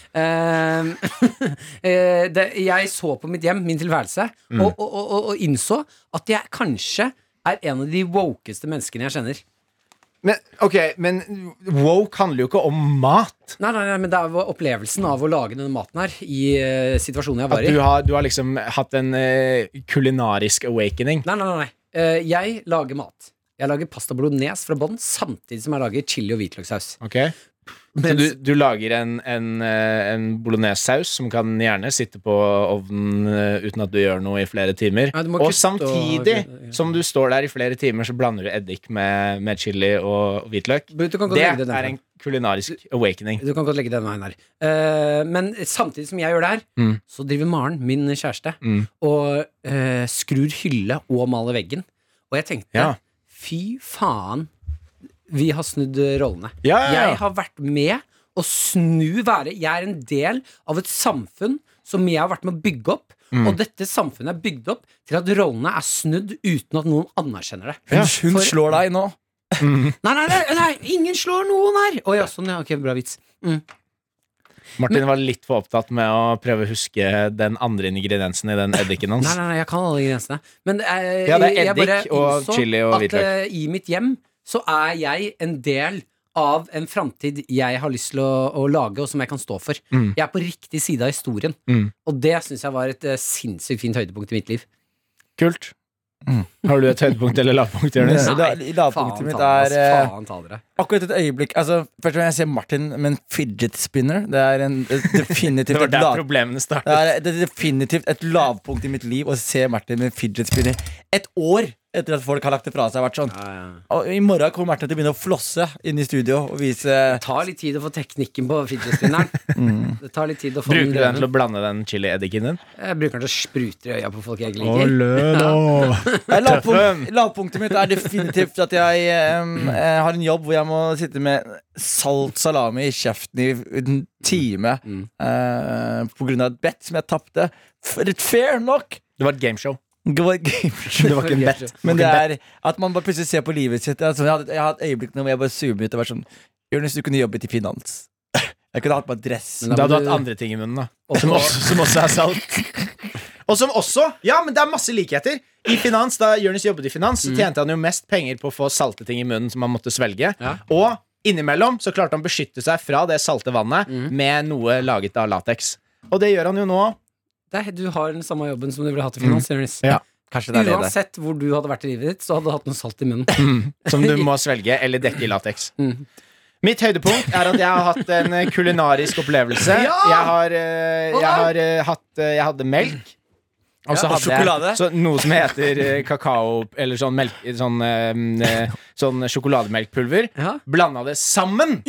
[SPEAKER 3] Eh, eh, det, jeg så på mitt hjem, min tilværelse, og, og, og, og- og innså at jeg kanskje er en av de wokeste menneskene jeg kjenner.
[SPEAKER 2] Men, ok, men woke handler jo ikke om mat.
[SPEAKER 3] Nei, nei, nei, men det er jo opplevelsen av å lage denne maten her, i eh, situasjonen jeg
[SPEAKER 2] At
[SPEAKER 3] var i.
[SPEAKER 2] du har, du har liksom hatt en eh, kulinarisk awakening.
[SPEAKER 3] Nei, nei, nei. nei. Eh, jeg lager mat. Jeg lager pasta bolognese fra bånn samtidig som jeg lager chili og hvitløkssaus.
[SPEAKER 2] Ok? Så du, du lager en, en, eh, en bolognesesaus som kan gjerne sitte på ovnen eh, uten at du gjør noe i flere timer.
[SPEAKER 3] Ja, du må
[SPEAKER 2] og
[SPEAKER 3] kutte
[SPEAKER 2] samtidig
[SPEAKER 3] og- ja.
[SPEAKER 2] som du står der i flere timer, så blander du eddik med, med chili og hvitløk.
[SPEAKER 3] Du kan godt
[SPEAKER 2] Det
[SPEAKER 3] legge det den
[SPEAKER 2] er
[SPEAKER 3] veien.
[SPEAKER 2] en kulinarisk awakening.
[SPEAKER 3] Du kan godt legge den veien her. Eh, men samtidig som jeg gjør det her,
[SPEAKER 2] Mm.
[SPEAKER 3] så driver Maren, min kjæreste,
[SPEAKER 2] Mm.
[SPEAKER 3] og eh, skrur hylle og maler veggen. Og jeg tenkte
[SPEAKER 2] Ja.
[SPEAKER 3] fy faen, vi har snudd rollene.
[SPEAKER 2] Ja, ja, ja.
[SPEAKER 3] Jeg har vært med å snu være Jeg er en del av et samfunn som jeg har vært med å bygge opp.
[SPEAKER 2] Mm.
[SPEAKER 3] Og dette samfunnet er bygd opp til at rollene er snudd uten at noen anerkjenner det.
[SPEAKER 2] Ja.
[SPEAKER 4] Hun
[SPEAKER 3] For-
[SPEAKER 4] slår deg nå.
[SPEAKER 3] Nei, nei, nei, nei, ingen slår noen her! Å ja, sånn, ja. Ok, bra vits.
[SPEAKER 2] Martin var litt for opptatt med å prøve å huske den andre ingrediensen i den eddiken hans.
[SPEAKER 3] Nei, nei, nei, jeg kan alle grensene. Men eh,
[SPEAKER 2] Ja, det er
[SPEAKER 3] jeg bare
[SPEAKER 2] eddik og
[SPEAKER 3] innså
[SPEAKER 2] chili og
[SPEAKER 3] at,
[SPEAKER 2] hvitløk.
[SPEAKER 3] eh, I mitt hjem så er jeg en del av en framtid jeg har lyst til å, å lage, og som jeg kan stå for.
[SPEAKER 2] Mm.
[SPEAKER 3] Jeg er på riktig side av historien,
[SPEAKER 2] Mm.
[SPEAKER 3] og det syns jeg var et eh, sinnssykt fint høydepunkt i mitt liv.
[SPEAKER 2] Kult. Har du et høydepunkt eller lavpunkt, Jonis?
[SPEAKER 3] Nei,
[SPEAKER 4] Da- i lavpunktet mitt er eh,
[SPEAKER 3] faen ta dere.
[SPEAKER 4] akkurat et øyeblikk altså, Først når jeg ser Martin med en fidget spinner Det er en, et definitivt
[SPEAKER 2] Det var
[SPEAKER 4] et
[SPEAKER 2] der
[SPEAKER 4] lav-
[SPEAKER 2] problemene
[SPEAKER 4] det
[SPEAKER 2] startet.
[SPEAKER 4] er, det er definitivt et lavpunkt i mitt liv å se Martin med en fidget spinner et år etter at folk har lagt det fra seg. og Vært sånn. Og I morgen kommer Martin til å begynne å flosse inn i studio og vise
[SPEAKER 3] Det tar litt tid å få teknikken på fidget spinneren.
[SPEAKER 2] Mm.
[SPEAKER 3] Det tar litt tid å få
[SPEAKER 2] Bruker du den
[SPEAKER 3] løven.
[SPEAKER 2] til å blande den chilieddiken din?
[SPEAKER 3] Jeg bruker den til å sprute i øya på folk jeg ikke liker.
[SPEAKER 4] Nei,
[SPEAKER 2] Tøffen.
[SPEAKER 4] Lavpunkt, lavpunktet mitt er definitivt at jeg em, eh, har en jobb hvor jeg må sitte med salt salami i kjeften i en time
[SPEAKER 3] Mm.
[SPEAKER 4] eh, på grunn av et bet som jeg tapte. F- Fair nok!
[SPEAKER 2] Det var et gameshow.
[SPEAKER 4] Det var game-
[SPEAKER 2] Det var ikke en bet.
[SPEAKER 4] Men det er at man bare plutselig ser på livet sitt. Altså, jeg hadde- jeg har hatt øyeblikk nå hvor jeg bare zoomer ut og vært sånn Jonis, du kunne jobbet i finans. Jeg kunne hatt på en dress.
[SPEAKER 3] Men
[SPEAKER 2] Da hadde du
[SPEAKER 3] må
[SPEAKER 2] hatt andre ting i munnen, da. Som også, som også er salt. Og som også Ja, men det er masse likheter. I finans, Da Jonis jobbet i finans, så tjente han jo mest penger på å få salte ting i munnen som han måtte svelge.
[SPEAKER 3] Ja.
[SPEAKER 2] Og innimellom så klarte han å beskytte seg fra det salte vannet med noe laget av lateks. Og det gjør han jo nå.
[SPEAKER 3] det er, du har den samme jobben som du ville hatt i finans. Jonis.
[SPEAKER 2] Ja.
[SPEAKER 4] Kanskje det er det det.
[SPEAKER 3] Uansett hvor du hadde vært i livet ditt, så hadde du hatt noe salt i munnen.
[SPEAKER 2] Som du må svelge eller dekke i lateks.
[SPEAKER 3] Mm.
[SPEAKER 2] Mitt høydepunkt er at jeg har hatt en eh, kulinarisk opplevelse. Jeg har, eh, jeg har eh, hatt eh, Jeg hadde melk. Og så
[SPEAKER 4] Ja, og
[SPEAKER 2] hadde jeg
[SPEAKER 4] sjokolade.
[SPEAKER 2] så noe som heter eh, kakao Eller sånn, melk, sånn, eh, eh, sånn sjokolademelkpulver.
[SPEAKER 3] Ja.
[SPEAKER 2] Blanda det sammen,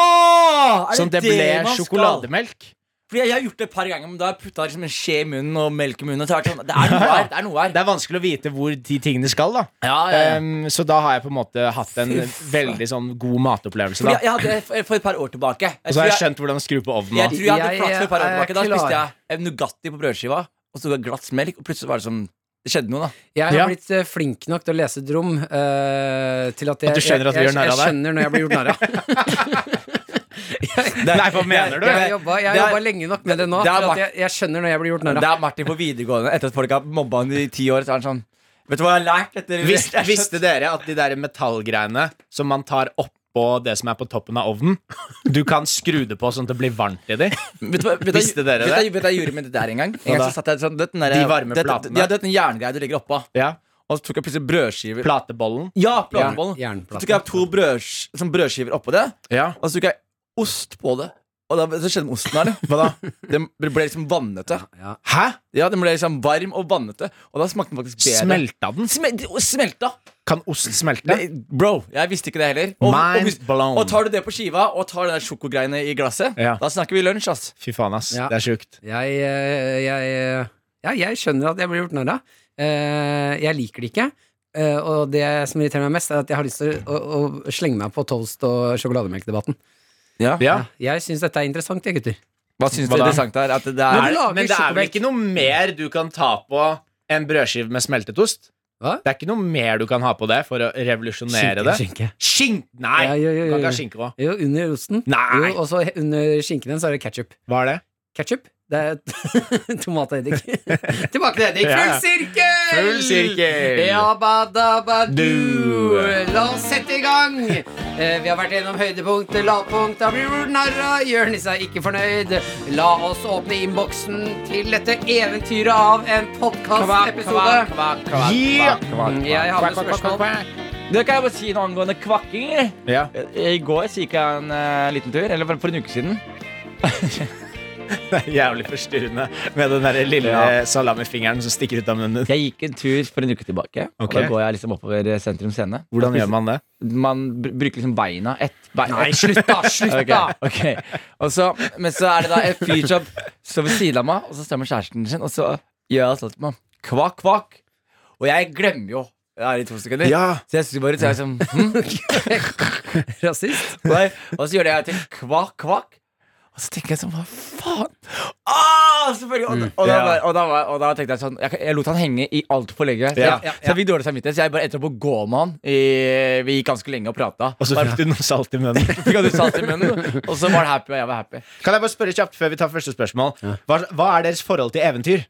[SPEAKER 4] Ja!
[SPEAKER 2] sånn at det ble sjokolademelk.
[SPEAKER 4] Fordi Jeg har gjort det et par ganger, men da har jeg putta liksom en skje i munnen og melk i munnen. Og så har jeg vært sånn, det er noe her, det er noe her. Ehm,
[SPEAKER 2] Det er vanskelig å vite hvor de tingene skal, da.
[SPEAKER 4] Ja, ja, ja.
[SPEAKER 2] Em, så da har jeg på en måte hatt en veldig sånn god matopplevelse,
[SPEAKER 4] Fordi
[SPEAKER 2] da.
[SPEAKER 4] jeg, jeg hadde det for- for et par år tilbake. Jeg,
[SPEAKER 2] Og så
[SPEAKER 4] tror
[SPEAKER 2] har jeg
[SPEAKER 4] jeg,
[SPEAKER 2] skjønt hvordan skru på ovnen
[SPEAKER 4] jeg
[SPEAKER 2] nå.
[SPEAKER 4] tror jeg hadde
[SPEAKER 3] Jeg
[SPEAKER 4] flaks for et par år
[SPEAKER 3] er
[SPEAKER 4] tilbake. Da
[SPEAKER 3] klar.
[SPEAKER 4] spiste jeg en Nugatti på brødskiva, og så et glass melk, og plutselig var det som Det skjedde noe, da.
[SPEAKER 3] Jeg har
[SPEAKER 2] Ja.
[SPEAKER 3] blitt eh, flink nok til å lese et rom eh, til at jeg,
[SPEAKER 2] At du skjønner at vi
[SPEAKER 3] jeg,
[SPEAKER 2] gjør
[SPEAKER 3] jeg,
[SPEAKER 2] narr av
[SPEAKER 3] jeg
[SPEAKER 2] deg?
[SPEAKER 3] skjønner når jeg blir gjort narr av.
[SPEAKER 2] Nei, hva mener du?
[SPEAKER 3] Jeg har jobba- jeg har
[SPEAKER 4] Det er-
[SPEAKER 3] jobba lenge nok med det nå
[SPEAKER 4] det
[SPEAKER 3] til
[SPEAKER 4] er
[SPEAKER 3] at
[SPEAKER 4] Martin-
[SPEAKER 3] jeg, jeg skjønner når jeg blir gjort narr
[SPEAKER 4] Det
[SPEAKER 3] av.
[SPEAKER 4] er Martin på videregående etter at folk har mobba han i ti år. Så er han sånn Vet du hva jeg har lært etter
[SPEAKER 2] Vis,
[SPEAKER 4] Jeg har skjønt-
[SPEAKER 2] visste dere at de der metallgreiene som man tar oppå det som er på toppen av ovnen, du kan skru det på sånn at det blir varmt i de?
[SPEAKER 4] Vet du hva- vet du hva-
[SPEAKER 2] Visste dere
[SPEAKER 4] vet du hva-
[SPEAKER 2] det?
[SPEAKER 4] Vet du hva jeg gjorde med det der en gang? En gang
[SPEAKER 2] da?
[SPEAKER 4] så satt jeg sånn, du vet den der,
[SPEAKER 2] De varme
[SPEAKER 4] det-
[SPEAKER 2] platene?
[SPEAKER 4] Ja, du vet den jerngreia du legger oppå.
[SPEAKER 2] Ja.
[SPEAKER 4] Og så tok jeg plutselig brødskiver.
[SPEAKER 2] Platebollen?
[SPEAKER 4] ja, platebollen. Så tok
[SPEAKER 3] Jernplaten.
[SPEAKER 4] jeg to brøds, sånn brødskiver oppå det.
[SPEAKER 2] Ja.
[SPEAKER 4] Og så tok jeg ost på det. Og da, så skjedde det med osten her. det. Den ble- ble liksom vannete.
[SPEAKER 3] Ja.
[SPEAKER 2] Hæ?
[SPEAKER 4] Ja, Den ble liksom varm og vannete. Og da smakte den faktisk bedre.
[SPEAKER 2] Smelta den?
[SPEAKER 4] Smel og smelta!
[SPEAKER 2] Kan ost smelte?
[SPEAKER 4] Det, bro, jeg visste ikke det heller. Og, og,
[SPEAKER 2] Mind
[SPEAKER 4] hvis-
[SPEAKER 2] blown.
[SPEAKER 4] og tar du det på skiva, og tar den der sjokogreiene i glasset,
[SPEAKER 2] Ja.
[SPEAKER 4] da snakker vi lunsj, ass.
[SPEAKER 2] Fy faen, ass.
[SPEAKER 3] Ja.
[SPEAKER 2] Det er sjukt.
[SPEAKER 3] Jeg, eh, jeg, eh, ja, jeg skjønner at jeg blir gjort narr av. Eh, jeg liker det ikke. Eh, og det som irriterer meg mest, er at jeg har lyst til å, å, å slenge meg på toast- og sjokolademelkdebatten.
[SPEAKER 2] Ja.
[SPEAKER 3] Jeg syns dette er interessant, jeg, gutter.
[SPEAKER 4] Hva syns
[SPEAKER 2] Hva da?
[SPEAKER 4] du er interessant her? At det er
[SPEAKER 3] Men du lager
[SPEAKER 2] Men det er vel
[SPEAKER 3] sjokomelk.
[SPEAKER 2] ikke noe mer du kan ta på en brødskive med smeltetost?
[SPEAKER 3] Hva?
[SPEAKER 2] Det er ikke noe mer du kan ha på det for å revolusjonere
[SPEAKER 3] Skinke,
[SPEAKER 2] det?
[SPEAKER 3] skinke.
[SPEAKER 2] Skink... Nei!
[SPEAKER 3] Ja, ja, ja,
[SPEAKER 2] Du kan ikke
[SPEAKER 3] ja.
[SPEAKER 2] ha skinke òg.
[SPEAKER 3] Jo, under osten.
[SPEAKER 2] Nei.
[SPEAKER 3] Jo, og så he- under skinken igjen så er det ketsjup.
[SPEAKER 2] Hva er det?
[SPEAKER 3] Ketsjup? Det er t- tomat og eddik. Tilbake til eddik.
[SPEAKER 2] Ja, ja.
[SPEAKER 3] Full sirkel!
[SPEAKER 2] Full sirkel!
[SPEAKER 3] Jabadabadu.
[SPEAKER 2] Du.
[SPEAKER 3] La oss sette i gang. Eh, Vi har vært gjennom høydepunkt, lavpunkt, da blir du narra. Jonis er ikke fornøyd. La oss åpne innboksen til dette eventyret av en podkastepisode.
[SPEAKER 2] Yeah!
[SPEAKER 3] Jeg hadde spørsmål.
[SPEAKER 4] Det kan jeg bare si noe angående kvakking. eller?
[SPEAKER 2] Ja.
[SPEAKER 4] I går så gikk jeg en eh, liten tur, eller for en uke siden.
[SPEAKER 2] Det er jævlig forstyrrende med den der lille
[SPEAKER 4] Ja.
[SPEAKER 2] salamifingeren som stikker ut av munnen.
[SPEAKER 4] Jeg gikk en tur for en uke tilbake.
[SPEAKER 2] Ok.
[SPEAKER 4] Og da går jeg liksom oppover eh, sentrum scene.
[SPEAKER 2] Hvordan gjør man det?
[SPEAKER 4] Man br bruker liksom beina. Ett bein.
[SPEAKER 3] Nei, slutt, da! Slutt,
[SPEAKER 4] Ok,
[SPEAKER 3] da!
[SPEAKER 4] ok. Og så, men så er det da en fyr som står ved siden av meg, og så stemmer kjæresten sin, og så gjør han sånn til meg. Kvakk, kvakk. Og jeg glemmer jo det her i to sekunder.
[SPEAKER 2] Ja.
[SPEAKER 4] Så jeg synes bare så er jeg sånn hm?
[SPEAKER 3] Rasist?
[SPEAKER 4] Nei. Og så gjør det jeg til kvakk, kvakk. Og så tenker jeg sånn, hva faen? Ah, selvfølgelig! Og, og, da,
[SPEAKER 2] Mm. Ja.
[SPEAKER 4] var- og, da, var- og da tenkte jeg sånn Jeg, jeg lot han henge i altfor lenge. Så jeg,
[SPEAKER 2] Ja,
[SPEAKER 3] ja,
[SPEAKER 4] så jeg fikk dårlig samvittighet, så jeg bare endte opp å gå med han. I, vi gikk ganske lenge og prata.
[SPEAKER 2] Og så fikk du noe salt i munnen.
[SPEAKER 4] Fikk han ut salt i munnen, og så var han happy, og jeg var happy.
[SPEAKER 2] Kan jeg bare spørre kjapt før vi tar første spørsmål? Hva, hva er deres forhold til eventyr?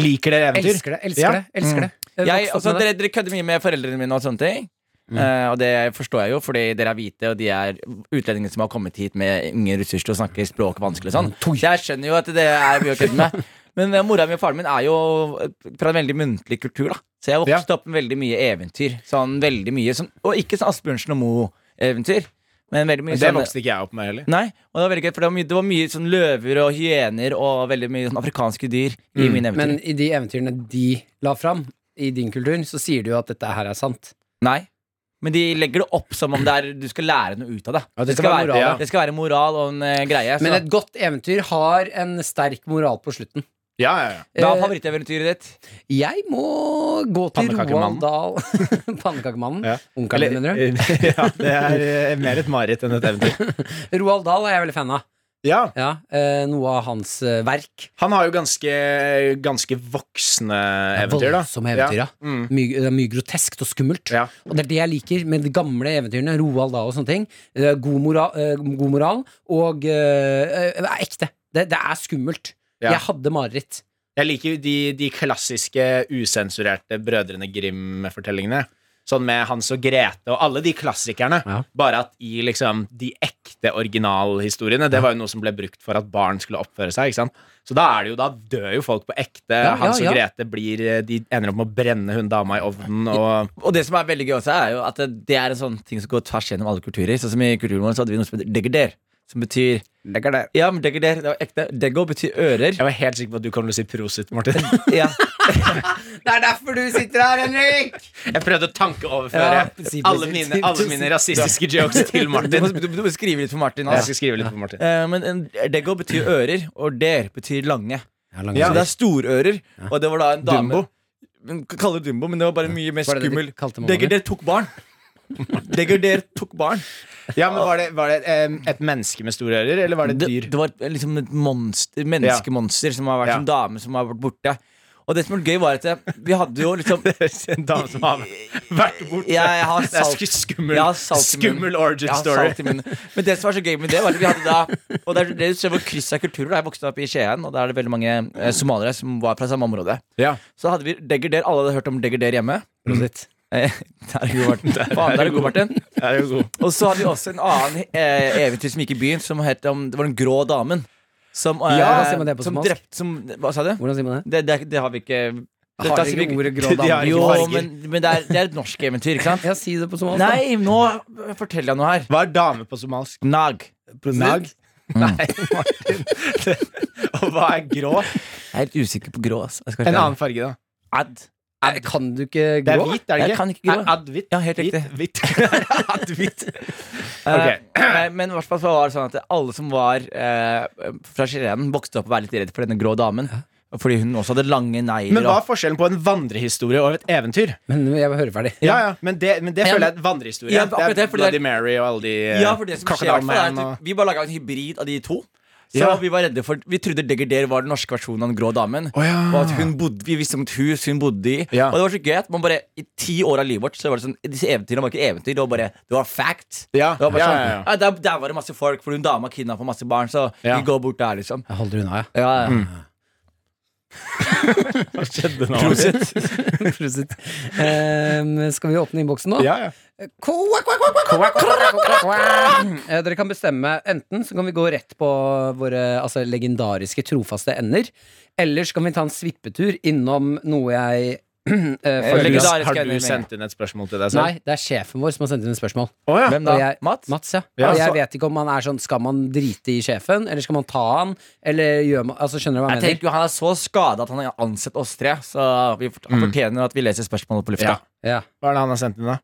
[SPEAKER 2] Liker dere eventyr?
[SPEAKER 3] Elsker det, elsker
[SPEAKER 2] Ja.
[SPEAKER 3] det. elsker det Vokst
[SPEAKER 4] jeg,
[SPEAKER 3] Mm. opp
[SPEAKER 4] altså,
[SPEAKER 3] med det. Mm.
[SPEAKER 4] dere, dere kødder mye med foreldrene mine og sånne ting. Eh, og det forstår jeg jo, fordi dere er hvite, og de er utlendinger som har kommet hit med ingen ressurser til å snakke språk vanskelig og sånn.
[SPEAKER 3] Mm.
[SPEAKER 4] Så jeg skjønner jo at det er mye å kødde med. Men eh, mora mi og faren min er jo fra en veldig muntlig kultur, da. Så jeg vokste opp med veldig mye eventyr. Sånn veldig mye sånn, Og ikke sånn Asbjørnsen og Moe-eventyr, men veldig mye
[SPEAKER 2] Det
[SPEAKER 4] sånn
[SPEAKER 2] vokste ikke jeg opp med heller.
[SPEAKER 4] Nei, og det var veldig gøy, for det var mye, det var mye sånn løver og hyener og veldig mye sånn afrikanske dyr i mine eventyr.
[SPEAKER 3] Men i de eventyrene de la fram, i din kultur, så sier du jo at dette her er sant.
[SPEAKER 4] Nei. Men de legger det opp som om det er, du skal lære noe ut av det.
[SPEAKER 3] Ja, det
[SPEAKER 4] det,
[SPEAKER 3] skal
[SPEAKER 4] skal
[SPEAKER 3] være
[SPEAKER 4] være,
[SPEAKER 3] moral, ja.
[SPEAKER 4] det skal være moral og en eh, greie.
[SPEAKER 2] Altså-
[SPEAKER 4] Så.
[SPEAKER 3] Men et godt eventyr har en sterk moral på slutten.
[SPEAKER 2] Ja, ja, ja.
[SPEAKER 4] Hva
[SPEAKER 3] eh,
[SPEAKER 4] er favoritteventyret ditt?
[SPEAKER 3] Jeg må gå til
[SPEAKER 2] Pannekakemannen.
[SPEAKER 3] Roald Dahl Pannekakemannen.
[SPEAKER 2] Ja.
[SPEAKER 3] Onkelen din, mener du?
[SPEAKER 2] ja, det er eh, mer et mareritt enn et eventyr.
[SPEAKER 3] Roald Dahl er jeg veldig fan av.
[SPEAKER 2] Ja,
[SPEAKER 3] Ja, eh, Noe av hans eh, verk.
[SPEAKER 2] han har jo ganske, ganske voksne eventyr, da.
[SPEAKER 3] Voldsomme eventyr, ja.
[SPEAKER 2] Mm.
[SPEAKER 3] Mye, det er mye groteskt og skummelt.
[SPEAKER 2] Ja.
[SPEAKER 3] Og det er det jeg liker med de gamle eventyrene. Roald Dahl og sånne ting. Eh, God moral, eh, god moral og eh, eh, er ekte. Det, det er skummelt.
[SPEAKER 2] Ja.
[SPEAKER 3] Jeg hadde mareritt.
[SPEAKER 2] Jeg liker jo de, de klassiske usensurerte Brødrene Grim-fortellingene. Sånn med Hans og Grete og alle de klassikerne.
[SPEAKER 3] Ja.
[SPEAKER 2] Bare at i liksom de ekte originalhistoriene Det var jo noe som ble brukt for at barn skulle oppføre seg. ikke sant? Så da er det jo, da dør jo folk på ekte.
[SPEAKER 3] ja,
[SPEAKER 2] Hans og
[SPEAKER 3] ja.
[SPEAKER 2] Grete blir, eh, de ender opp med å brenne hun dama i ovnen og
[SPEAKER 4] Og det som er veldig gøy også, er jo at det, det er en sånn ting som går tvers gjennom alle kulturer. Sånn som i kulturen vår så hadde vi noe som heter degrader. Som betyr Ja, men degrader, det var ekte. Dego betyr ører.
[SPEAKER 2] Jeg var helt sikker på at du kom til å si prosit, Martin.
[SPEAKER 4] Ja.
[SPEAKER 3] Det er derfor du sitter her, Henrik!
[SPEAKER 2] Jeg prøvde å tankeoverføre
[SPEAKER 4] Ja, si
[SPEAKER 2] alle,
[SPEAKER 4] prosit,
[SPEAKER 2] mine,
[SPEAKER 4] si
[SPEAKER 2] alle
[SPEAKER 4] prosit.
[SPEAKER 2] mine rasistiske jokes til
[SPEAKER 4] Du, må,
[SPEAKER 2] Martin.
[SPEAKER 4] du, du må skrive litt for Martin.
[SPEAKER 2] Jeg
[SPEAKER 4] Altså.
[SPEAKER 2] skal skrive litt på Martin.
[SPEAKER 4] Eh, men en- dego betyr ører, og der betyr lange.
[SPEAKER 2] Ja.
[SPEAKER 4] Så det er storører. Og det var da en dame
[SPEAKER 2] Dumbo.
[SPEAKER 4] Men k- Kaller det Dumbo, men det var bare mye mer
[SPEAKER 3] Var det det de
[SPEAKER 4] skummel.
[SPEAKER 3] kalte mammaen
[SPEAKER 4] Degrader tok barn. Degrader tok barn.
[SPEAKER 2] Ja, men Var det, var det em, et menneske med store ører, eller var det et
[SPEAKER 4] Det,
[SPEAKER 2] dyr?
[SPEAKER 4] det var liksom et monster, menneskemonster som har vært
[SPEAKER 2] Ja.
[SPEAKER 4] en dame som har vært borte. Og det som var gøy, var at det- vi hadde jo liksom
[SPEAKER 2] En dame som har vært borte.
[SPEAKER 4] Jeg, jeg har
[SPEAKER 2] Det er
[SPEAKER 4] salt
[SPEAKER 2] sku- skummel,
[SPEAKER 4] Jeg har salt i munnen.
[SPEAKER 2] skummel origin
[SPEAKER 4] jeg har
[SPEAKER 2] story.
[SPEAKER 4] salt i munnen. Men det som var så gøy med det, var at vi hadde da Og det er det du ser hvor kryss av kulturer. da. Jeg vokste opp i Skien, og da er det veldig mange eh, somaliere som var fra samme område.
[SPEAKER 2] Ja.
[SPEAKER 4] Så hadde vi degrader. Alle hadde hørt om degrader hjemme.
[SPEAKER 3] Mm. Prosit.
[SPEAKER 4] Eh, Der er du god, Martin. Faen, der er du god, Martin.
[SPEAKER 2] Det er jo god.
[SPEAKER 4] Og så hadde vi også en annen eh, eventyr som gikk i byen, som het om, Det var den grå damen. Som, eh,
[SPEAKER 3] Ja, hva sier man det på
[SPEAKER 4] som
[SPEAKER 3] somalisk?
[SPEAKER 4] drepte som, Hva sa du?
[SPEAKER 3] Hvordan sier man det?
[SPEAKER 4] Det, det, det har vi ikke
[SPEAKER 3] Har
[SPEAKER 4] dette har
[SPEAKER 3] dere
[SPEAKER 4] vi
[SPEAKER 3] ikke
[SPEAKER 4] ikke-
[SPEAKER 3] ordet grå
[SPEAKER 2] De har
[SPEAKER 3] dame?
[SPEAKER 2] ikke
[SPEAKER 4] Jo,
[SPEAKER 2] farger.
[SPEAKER 4] men, men det, er, det er et norsk eventyr, ikke sant?
[SPEAKER 3] Ja, si det på somalisk.
[SPEAKER 4] Nei, nå forteller jeg noe her.
[SPEAKER 2] Hva er dame på somalsk?
[SPEAKER 4] Nag.
[SPEAKER 2] Nag? Mm. Nei, Martin. Og hva er grå?
[SPEAKER 4] Jeg er helt usikker på grå. ass. Jeg skal
[SPEAKER 2] En
[SPEAKER 4] være
[SPEAKER 2] annen farge, da.
[SPEAKER 4] Ad.
[SPEAKER 3] da. Eh, Kan du ikke
[SPEAKER 2] Det er
[SPEAKER 3] grå?
[SPEAKER 2] hvit, er det
[SPEAKER 4] Jeg
[SPEAKER 2] ikke?
[SPEAKER 4] kan ikke grå.
[SPEAKER 2] Er Ad hvitt?
[SPEAKER 4] Ja, helt
[SPEAKER 2] Hvit?
[SPEAKER 4] riktig.
[SPEAKER 2] Hvitt. Ad hvitt.
[SPEAKER 4] Eh,
[SPEAKER 2] Ok.
[SPEAKER 4] nei, men i hvert fall så var det sånn at alle som var eh, fra Skien, vokste opp og var litt redd for denne grå damen. Fordi hun også hadde lange negler.
[SPEAKER 2] Men hva
[SPEAKER 4] og-
[SPEAKER 2] er forskjellen på en vandrehistorie og et eventyr?
[SPEAKER 3] Men jeg vil høre ferdig.
[SPEAKER 2] Ja, ja, Men det, men det
[SPEAKER 4] Ja,
[SPEAKER 2] føler
[SPEAKER 4] men-
[SPEAKER 2] jeg er et vandrehistorie.
[SPEAKER 4] Ja,
[SPEAKER 2] det er
[SPEAKER 4] akkurat det, for det er-
[SPEAKER 2] Bloody Mary og alle de eh,
[SPEAKER 4] Ja, for det som skjer i
[SPEAKER 2] Crocodile
[SPEAKER 4] hvert fall er
[SPEAKER 2] Man og-
[SPEAKER 4] at Vi bare laga en hybrid av de to. Så
[SPEAKER 2] Ja.
[SPEAKER 4] Vi var redde for Vi trodde Degrader var den norske versjonen av Den grå damen.
[SPEAKER 2] Å, ja.
[SPEAKER 4] Og at hun bodde Vi visste om et hus hun bodde i.
[SPEAKER 2] Ja.
[SPEAKER 4] Og det var så gøy at man bare i ti år av livet vårt Så var det sånn disse eventyrene var ikke eventyr, det var bare Det var fact.
[SPEAKER 2] Ja,
[SPEAKER 4] Det var bare
[SPEAKER 2] ja,
[SPEAKER 4] sånn,
[SPEAKER 2] ja, ja.
[SPEAKER 4] «Ah, der, der var det masse folk, for hun dama kidnappa masse barn, så
[SPEAKER 2] Ja. Mm.
[SPEAKER 4] vi går bort der, liksom.
[SPEAKER 3] Jeg holder unna, jeg.
[SPEAKER 4] Ja, ja.
[SPEAKER 2] Hva skjedde nå?
[SPEAKER 4] Prosit.
[SPEAKER 3] Prosit. Ehm, skal vi åpne innboksen nå?
[SPEAKER 2] Ja, ja.
[SPEAKER 3] Kvakk, kvakk, kvakk, kvakk, kvakk, kvakk, kvakk. Eh, Dere kan bestemme enten så kan vi gå rett på våre altså, legendariske trofaste ender, eller så kan vi ta en svippetur innom noe jeg eh,
[SPEAKER 2] Har
[SPEAKER 4] Har du-
[SPEAKER 2] du,
[SPEAKER 3] følger
[SPEAKER 4] legendarisk
[SPEAKER 2] har du
[SPEAKER 4] endring.
[SPEAKER 2] sendt inn et spørsmål til deg selv?
[SPEAKER 3] Nei, det er sjefen vår som har sendt inn et spørsmål.
[SPEAKER 2] Å ja.
[SPEAKER 4] Hvem da?
[SPEAKER 3] Og jeg-
[SPEAKER 4] Mats?
[SPEAKER 3] Mats, ja.
[SPEAKER 2] Ja,
[SPEAKER 3] og jeg
[SPEAKER 2] så-
[SPEAKER 3] vet ikke om man er sånn Skal man drite i sjefen, eller skal man ta han? Eller gjør man Altså, skjønner du hva jeg,
[SPEAKER 4] Jeg
[SPEAKER 3] mener?
[SPEAKER 4] tenker jo Han er så skada at han har ansett oss tre, så vi fort- han fortjener at vi leser spørsmålet på
[SPEAKER 2] Mm.
[SPEAKER 4] lufta.
[SPEAKER 2] Ja.
[SPEAKER 3] Ja.
[SPEAKER 2] Hva er det han har sendt inn, da?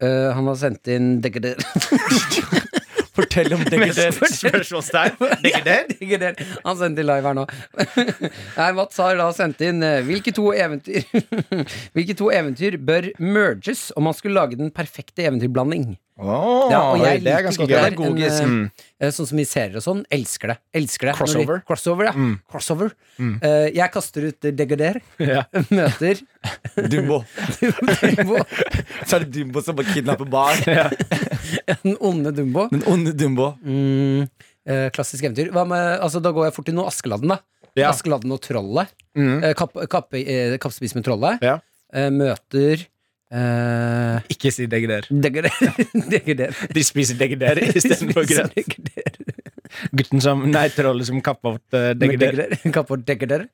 [SPEAKER 3] Eh, han har sendt inn Digger
[SPEAKER 5] Fortell om det.
[SPEAKER 2] Spørsmålstegn? Ligger der?
[SPEAKER 3] Digger Han sendte inn live her nå. Nei, Mats har da sendt inn eh, Hvilke to eventyr Hvilke to eventyr bør merges om man skulle lage den perfekte eventyrblanding? Ja,
[SPEAKER 2] oi,
[SPEAKER 3] og jeg
[SPEAKER 2] det er
[SPEAKER 3] liker
[SPEAKER 2] ganske
[SPEAKER 3] godt det
[SPEAKER 2] gøy.
[SPEAKER 3] der.
[SPEAKER 2] Pedagogisk.
[SPEAKER 3] En,
[SPEAKER 2] Mm.
[SPEAKER 3] eh, eh, sånn som i serier og sånn. Elsker det. Elsker det. Når
[SPEAKER 2] Crossover. Mm.
[SPEAKER 3] De, crossover, ja. Crossover. Eh, jeg kaster ut Degader.
[SPEAKER 2] Ja.
[SPEAKER 3] Møter
[SPEAKER 5] Dumbo.
[SPEAKER 3] Dumbo.
[SPEAKER 5] Så er det Dumbo som bare kidnapper barn.
[SPEAKER 3] Den onde Dumbo.
[SPEAKER 5] Den onde Dumbo.
[SPEAKER 3] Mm, eh, klassisk eventyr. Hva med, altså, da går jeg fort til noe Askeladden, da.
[SPEAKER 2] Ja.
[SPEAKER 3] Askeladden og trollet.
[SPEAKER 2] Mm.
[SPEAKER 3] Eh, kapp, kapp, eh, kappspis med trollet.
[SPEAKER 2] Ja.
[SPEAKER 3] Eh, møter eh,
[SPEAKER 2] Ikke si degrader.
[SPEAKER 3] Degader. Degader.
[SPEAKER 2] De spiser degrader istedenfor grøt. Gutten som Nei, trollet som kappa bort eh, degrader.
[SPEAKER 3] Kapper Degader.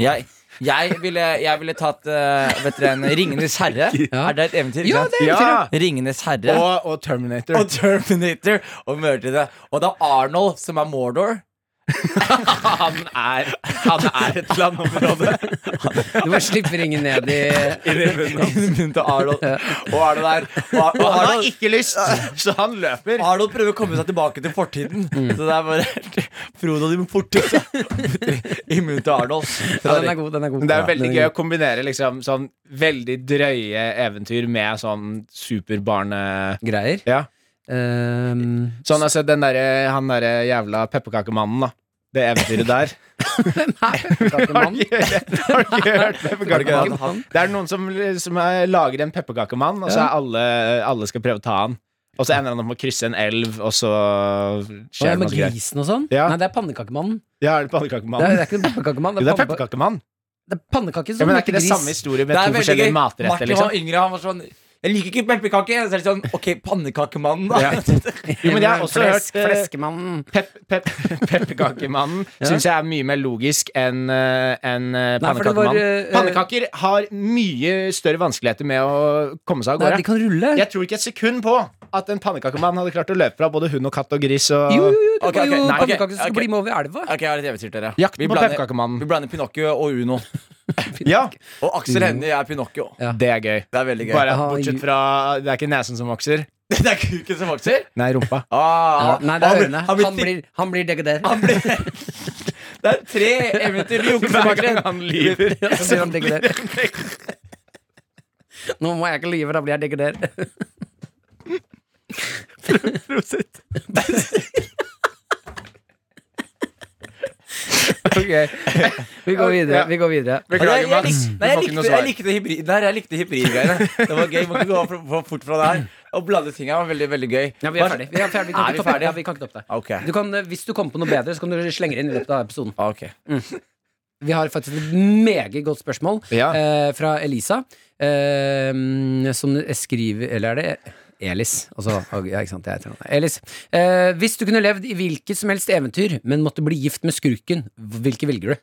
[SPEAKER 4] Jeg, jeg, ville, jeg ville tatt eh, Vet dere en Ringenes herre?
[SPEAKER 3] Ja.
[SPEAKER 4] Er det et eventyr?
[SPEAKER 3] Ja,
[SPEAKER 4] ikke sant?
[SPEAKER 3] det er eventyr, ja.
[SPEAKER 4] Ringenes herre.
[SPEAKER 2] Og, og Terminator.
[SPEAKER 4] og Terminator og mørte det. Og da Arnold, som er Mordor han, er, han er et landområde.
[SPEAKER 3] Du bare slipper ingen ned i
[SPEAKER 4] Inni munnen til Arnold. Og Arnold er og, Ar- og
[SPEAKER 2] Og han har
[SPEAKER 4] Arnold,
[SPEAKER 2] ikke lyst, så han løper.
[SPEAKER 4] Arnold prøver å komme seg tilbake til fortiden. Så det er bare Frodo de må forte seg i munnen til Arnold.
[SPEAKER 3] ja, Den er god, den er god.
[SPEAKER 2] Men det er
[SPEAKER 3] Ja,
[SPEAKER 2] jo veldig
[SPEAKER 3] den
[SPEAKER 2] gøy å
[SPEAKER 3] god.
[SPEAKER 2] kombinere liksom sånn veldig drøye eventyr med sånn superbarne...
[SPEAKER 3] Greier.
[SPEAKER 2] Ja.
[SPEAKER 3] Ehm,
[SPEAKER 2] Sånn, altså, den derre- han derre jævla pepperkakemannen, da. Det eventyret der. Har du
[SPEAKER 3] Kakemann.
[SPEAKER 2] ikke har du ikke hørt pepperkakemannen?
[SPEAKER 3] Kakemann.
[SPEAKER 2] Det er noen som, som er, lager en pepperkakemann, og så er alle, alle skal prøve å ta han. Og så ender han opp med å krysse en elv, og så
[SPEAKER 3] Å, ja,
[SPEAKER 2] skjer det
[SPEAKER 3] med
[SPEAKER 2] masse greier.
[SPEAKER 3] grisen og sånn?
[SPEAKER 2] Ja.
[SPEAKER 3] Nei, det er pannekakemannen.
[SPEAKER 2] Ja, er det
[SPEAKER 3] Det er,
[SPEAKER 2] pannekakemann?
[SPEAKER 3] det er ikke pannekakemann.
[SPEAKER 2] Jo, det er
[SPEAKER 3] panne-
[SPEAKER 2] pannekakemann.
[SPEAKER 3] det er pannekake
[SPEAKER 2] Ja,
[SPEAKER 3] som
[SPEAKER 2] men er
[SPEAKER 3] heter
[SPEAKER 2] ikke det
[SPEAKER 3] gris.
[SPEAKER 2] samme historie med to
[SPEAKER 4] Det er veldig gøy.
[SPEAKER 2] forskjellige matretter,
[SPEAKER 4] Martin var
[SPEAKER 2] liksom?
[SPEAKER 4] yngre, han var sånn Jeg liker ikke pepperkake. Så er det sånn Ok, pannekakemannen, da.
[SPEAKER 2] Ja. Jo, men jeg har også hørt
[SPEAKER 3] Flesk,
[SPEAKER 2] eh,
[SPEAKER 3] Fleskemannen.
[SPEAKER 2] pep, pep, Pepperkakemannen syns jeg er mye mer logisk enn eh, enn, eh,
[SPEAKER 3] Nei, for det var,
[SPEAKER 2] pannekakemannen.
[SPEAKER 3] eh,
[SPEAKER 2] Pannekaker har mye større vanskeligheter med å komme seg av
[SPEAKER 3] Nei, de
[SPEAKER 2] gårde.
[SPEAKER 3] kan rulle.
[SPEAKER 2] Jeg tror ikke et sekund på at en pannekakemann hadde klart å løpe fra både hund og katt og gris og
[SPEAKER 3] Jo, jo, jo, det
[SPEAKER 4] Ok,
[SPEAKER 3] var
[SPEAKER 4] ok,
[SPEAKER 3] jo
[SPEAKER 4] nei, ok,
[SPEAKER 3] pannekaker som skulle
[SPEAKER 4] ok.
[SPEAKER 3] bli med over elva.
[SPEAKER 4] Ok, jeg har et eventyr til dere.
[SPEAKER 2] Jakten
[SPEAKER 4] Vi
[SPEAKER 2] på
[SPEAKER 4] blander-
[SPEAKER 2] pepperkakemannen.
[SPEAKER 4] Vi blander Pinocchio og Uno.
[SPEAKER 2] Ja,
[SPEAKER 4] Og Aksel Hennie er Pinocchio.
[SPEAKER 3] Ja.
[SPEAKER 2] det er gøy.
[SPEAKER 4] Det er veldig gøy.
[SPEAKER 2] Mm. Bare
[SPEAKER 3] Ah,
[SPEAKER 2] bortsett
[SPEAKER 3] ju-
[SPEAKER 2] fra Det er ikke nesen som vokser.
[SPEAKER 4] Det er kuken som vokser?
[SPEAKER 2] Nei, rumpa.
[SPEAKER 4] Ah,
[SPEAKER 3] Ja, nei, det er
[SPEAKER 4] han-
[SPEAKER 3] ørene.
[SPEAKER 4] han blir
[SPEAKER 3] Han
[SPEAKER 4] tykk.
[SPEAKER 3] blir, han blir degader.
[SPEAKER 4] Han blir- Det er tre eventyr med jukser som
[SPEAKER 2] Hver
[SPEAKER 4] vokser.
[SPEAKER 2] gang han lyver.
[SPEAKER 3] Ja, så blir han degader. Nå må jeg ikke lyve, da blir jeg degader. Ok, vi går videre. Vi går videre.
[SPEAKER 2] Beklager,
[SPEAKER 4] Jeg- jeg
[SPEAKER 2] Mats. Du får
[SPEAKER 4] lik- Nei, jeg
[SPEAKER 2] ikke
[SPEAKER 4] likte,
[SPEAKER 2] noe
[SPEAKER 4] jeg
[SPEAKER 2] svar.
[SPEAKER 4] likte hybriden her. Jeg likte hybridgreiene. Det var gøy. Må ikke gå for, for fort fra det her. Å blande ting her var veldig, veldig gøy.
[SPEAKER 3] Ja, vi er ferdig. Vi er ferdig. Vi
[SPEAKER 4] Er
[SPEAKER 3] kan
[SPEAKER 4] vi
[SPEAKER 3] ikke toppe
[SPEAKER 4] ferdig?
[SPEAKER 3] det. Ja, vi kan ikke toppe det.
[SPEAKER 4] Ok.
[SPEAKER 3] Du kan, eh, hvis du kommer på noe bedre, så kan du slenge det inn i løpet av episoden.
[SPEAKER 4] Ok.
[SPEAKER 3] Vi har faktisk et meget godt spørsmål
[SPEAKER 2] Ja.
[SPEAKER 3] eh, fra Elisa, eh, som skriver Eller er det Elis? Altså, ja, ikke sant, jeg heter noe. Elis. Eh, hvis du kunne levd i hvilket som helst eventyr, men måtte bli gift med skurken, hvilke velger du?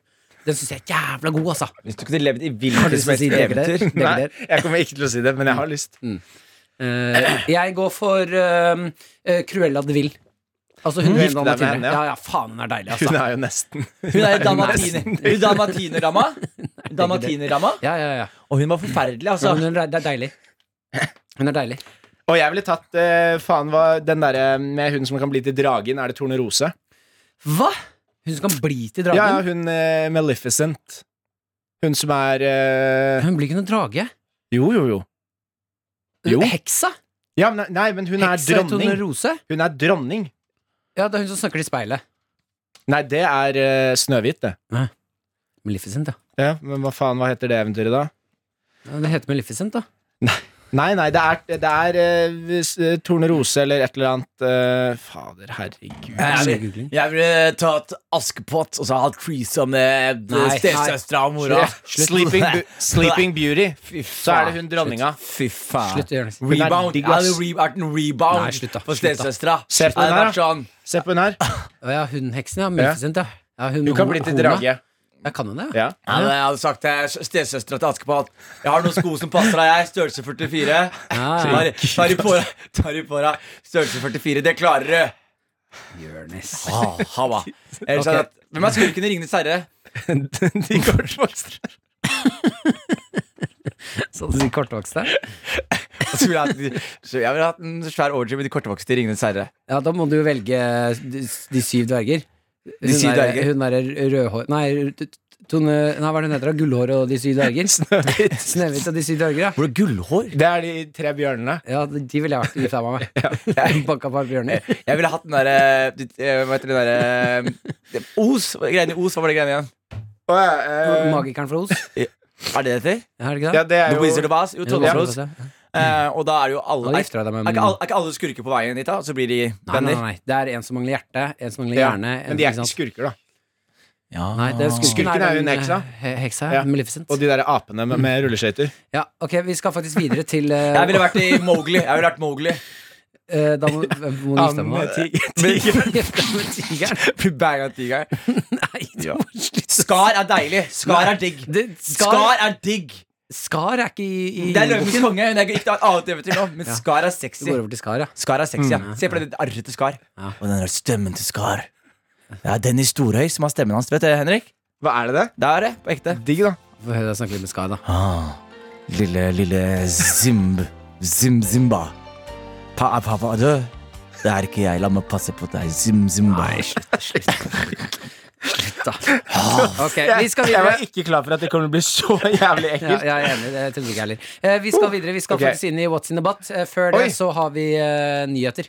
[SPEAKER 3] Den syns jeg er jævla god, altså.
[SPEAKER 5] Hvis du kunne levd i
[SPEAKER 3] Har
[SPEAKER 5] hvilket
[SPEAKER 3] du lyst til å si det, Grete? Det er
[SPEAKER 2] Nei,
[SPEAKER 3] ikke det.
[SPEAKER 2] jeg kommer ikke til å si det, men jeg har lyst.
[SPEAKER 3] Eh, jeg går for eh, eh, Cruella de Vil. Altså hun
[SPEAKER 2] Gifte Mm. deg
[SPEAKER 3] og
[SPEAKER 2] med
[SPEAKER 3] Mathilde.
[SPEAKER 2] henne,
[SPEAKER 3] Ja.
[SPEAKER 2] ja.
[SPEAKER 3] ja, faen, hun er deilig,
[SPEAKER 2] Hun
[SPEAKER 3] altså.
[SPEAKER 2] er jo nesten
[SPEAKER 4] Hun er damatiner. Hun damatiner-dama. Damatiner-dama.
[SPEAKER 3] Ja, ja, ja.
[SPEAKER 4] Og hun var forferdelig,
[SPEAKER 3] Så,
[SPEAKER 4] altså.
[SPEAKER 3] hun er, det er deilig. Hun er deilig.
[SPEAKER 2] Og jeg ville tatt eh, faen hva den derre eh, med hun som kan bli til dragen, er det Tornerose?
[SPEAKER 3] Hva?! Hun som kan bli til dragen?
[SPEAKER 2] Ja, ja, hun eh, Maleficent. Hun som er eh,
[SPEAKER 3] Hun blir ikke noen drage.
[SPEAKER 2] Jo, jo, jo. Jo.
[SPEAKER 3] Heksa?
[SPEAKER 2] Ja, men, nei, men hun er
[SPEAKER 3] Heksa i Tone
[SPEAKER 2] dronning.
[SPEAKER 3] Rose?
[SPEAKER 2] Hun er dronning.
[SPEAKER 3] Ja, det er hun som snakker til speilet.
[SPEAKER 2] Nei, det er eh, Snøhvit, det.
[SPEAKER 3] Maleficent, ja.
[SPEAKER 2] Ja, men hva faen, hva heter det eventyret, da?
[SPEAKER 3] Ja, Det heter Maleficent, da.
[SPEAKER 2] Nei, nei, det er, det er eh, hvis, eh, Tornerose eller et eller annet eh, Fader, herregud.
[SPEAKER 4] Jeg
[SPEAKER 3] Nei,
[SPEAKER 4] vil- Jeg ville tatt Askepott og så hatt threesome med
[SPEAKER 3] Nei,
[SPEAKER 4] eh, stesøstera og mora.
[SPEAKER 2] Sleeping, Bu- Sleeping Beauty.
[SPEAKER 4] Fy
[SPEAKER 2] Så er det hun dronninga.
[SPEAKER 4] Fy faen.
[SPEAKER 3] Slutt å gjøre det.
[SPEAKER 2] Hun er
[SPEAKER 4] Rebound.
[SPEAKER 2] digg,
[SPEAKER 4] Jeg hadde
[SPEAKER 2] ass.
[SPEAKER 4] re vært en rebound
[SPEAKER 3] Nei, slutt da,
[SPEAKER 4] for
[SPEAKER 3] slutt da.
[SPEAKER 4] stesøstera.
[SPEAKER 2] Se på den
[SPEAKER 4] Jeg hadde
[SPEAKER 2] her,
[SPEAKER 4] vært sånn
[SPEAKER 2] Se på hun her.
[SPEAKER 3] Å Ja, hun heksen, ja. Maleficent, ja. ja hun,
[SPEAKER 2] Hun kan bli til drage.
[SPEAKER 3] Jeg kan jo det.
[SPEAKER 2] Ja.
[SPEAKER 4] Ja, men jeg hadde sagt til stesøstera til Askepott Jeg har noen sko som passer deg, jeg. Størrelse 44.
[SPEAKER 3] Ah,
[SPEAKER 4] Tar- Tar i på deg- tar i på deg størrelse 44. Det klarer du!
[SPEAKER 3] Jonis.
[SPEAKER 4] Ah, hava. Ellers hadde jeg hatt- Hvem er skurken i Ringenes herre?
[SPEAKER 2] De kortvokste.
[SPEAKER 3] Sånn å si kortvokste.
[SPEAKER 4] Og så ville Jeg hatt- så jeg ville hatt en svær orgy med de kortvokste i Ringenes herre.
[SPEAKER 3] Ja, da må du jo velge De, de syv dverger. Hun
[SPEAKER 4] syv
[SPEAKER 3] der-
[SPEAKER 4] dverger?
[SPEAKER 3] Hun derre rødhår... Nei, Tone Nei, hva er det hun heter? da? Gullhår og De syv dverger? Snehvit og De syv dverger, ja.
[SPEAKER 4] Hvor er gullhår?
[SPEAKER 2] Det er de tre bjørnene.
[SPEAKER 3] Ja, de de ville jeg vært gifta meg med. Banka på bjørner.
[SPEAKER 4] Jeg ville hatt den derre eh, Hva heter den derre eh, Os? Greiene i Os, hva var det greiene igjen?
[SPEAKER 2] eh,
[SPEAKER 3] Magikeren fra Os.
[SPEAKER 4] Er det det heter?
[SPEAKER 3] Er det ikke
[SPEAKER 2] ja,
[SPEAKER 3] det?
[SPEAKER 2] det er
[SPEAKER 4] The Wizard
[SPEAKER 2] jo
[SPEAKER 4] of Oz? Jo, Trolldomsros. Eh, Og da er det jo alle
[SPEAKER 3] Nå
[SPEAKER 4] Er
[SPEAKER 3] gifter jeg deg med
[SPEAKER 4] ikke alle, er ikke alle skurker på veien dit, da? Og så blir de
[SPEAKER 3] Nei, nei,
[SPEAKER 4] venner?
[SPEAKER 3] nei. Det er en som mangler hjerte, en som mangler
[SPEAKER 2] ja.
[SPEAKER 3] hjerne en-
[SPEAKER 2] Men de er
[SPEAKER 3] ikke
[SPEAKER 2] ikke
[SPEAKER 3] sant?
[SPEAKER 2] skurker, da.
[SPEAKER 3] Nei, det er skurken,
[SPEAKER 2] Skurken er jo
[SPEAKER 3] den,
[SPEAKER 2] en heksa.
[SPEAKER 3] eh, he- Heksa,
[SPEAKER 2] Ja.
[SPEAKER 3] Maleficent.
[SPEAKER 2] Og de der apene med, med rulleskøyter.
[SPEAKER 3] Ja, ok, vi skal faktisk videre til eh,
[SPEAKER 4] Jeg ville vært i Mowgli. Jeg ville vært Mowgli.
[SPEAKER 3] eh, Da må, må du gifte deg
[SPEAKER 4] eh,
[SPEAKER 3] med meg. Gifte deg med tigeren?
[SPEAKER 4] Banga tigeren.
[SPEAKER 3] Nei, du må slutte.
[SPEAKER 4] Skar er deilig. Skar er digg.
[SPEAKER 3] Det- Skar,
[SPEAKER 4] Skar er digg.
[SPEAKER 3] skar er ikke i, i
[SPEAKER 4] Det er løvens konge. Hun er ikke et annet eventyr nå, men
[SPEAKER 3] Ja.
[SPEAKER 4] Skar
[SPEAKER 3] Du
[SPEAKER 4] er sexy.
[SPEAKER 3] går over til skar, ja.
[SPEAKER 4] Skar er sexy, ja. Se på det arret til Skar.
[SPEAKER 3] Ja.
[SPEAKER 4] Og den der stemmen til Skar. Det er Dennis Storhøy som har stemmen hans, vet du, Henrik.
[SPEAKER 2] Hva er det det?
[SPEAKER 4] Det er det, på ekte.
[SPEAKER 2] Digg, da.
[SPEAKER 3] Få høre deg snakke litt med skar, da.
[SPEAKER 4] Ah, lille, lille Zimb. Zim, Zimba. Pa, er pappa død? Det er ikke jeg. La meg passe på deg, Zim, Zimba.
[SPEAKER 2] Ah,
[SPEAKER 3] Ok, vi skal videre.
[SPEAKER 2] ikke klar for at det kommer til å bli så jævlig
[SPEAKER 3] Ja, jeg er enig, det trodde ikke jeg heller. Eh, vi skal videre. Vi skal
[SPEAKER 2] Ok.
[SPEAKER 3] faktisk inn i What's in the butt. Eh, før det
[SPEAKER 2] Oi.
[SPEAKER 3] så har vi eh, nyheter.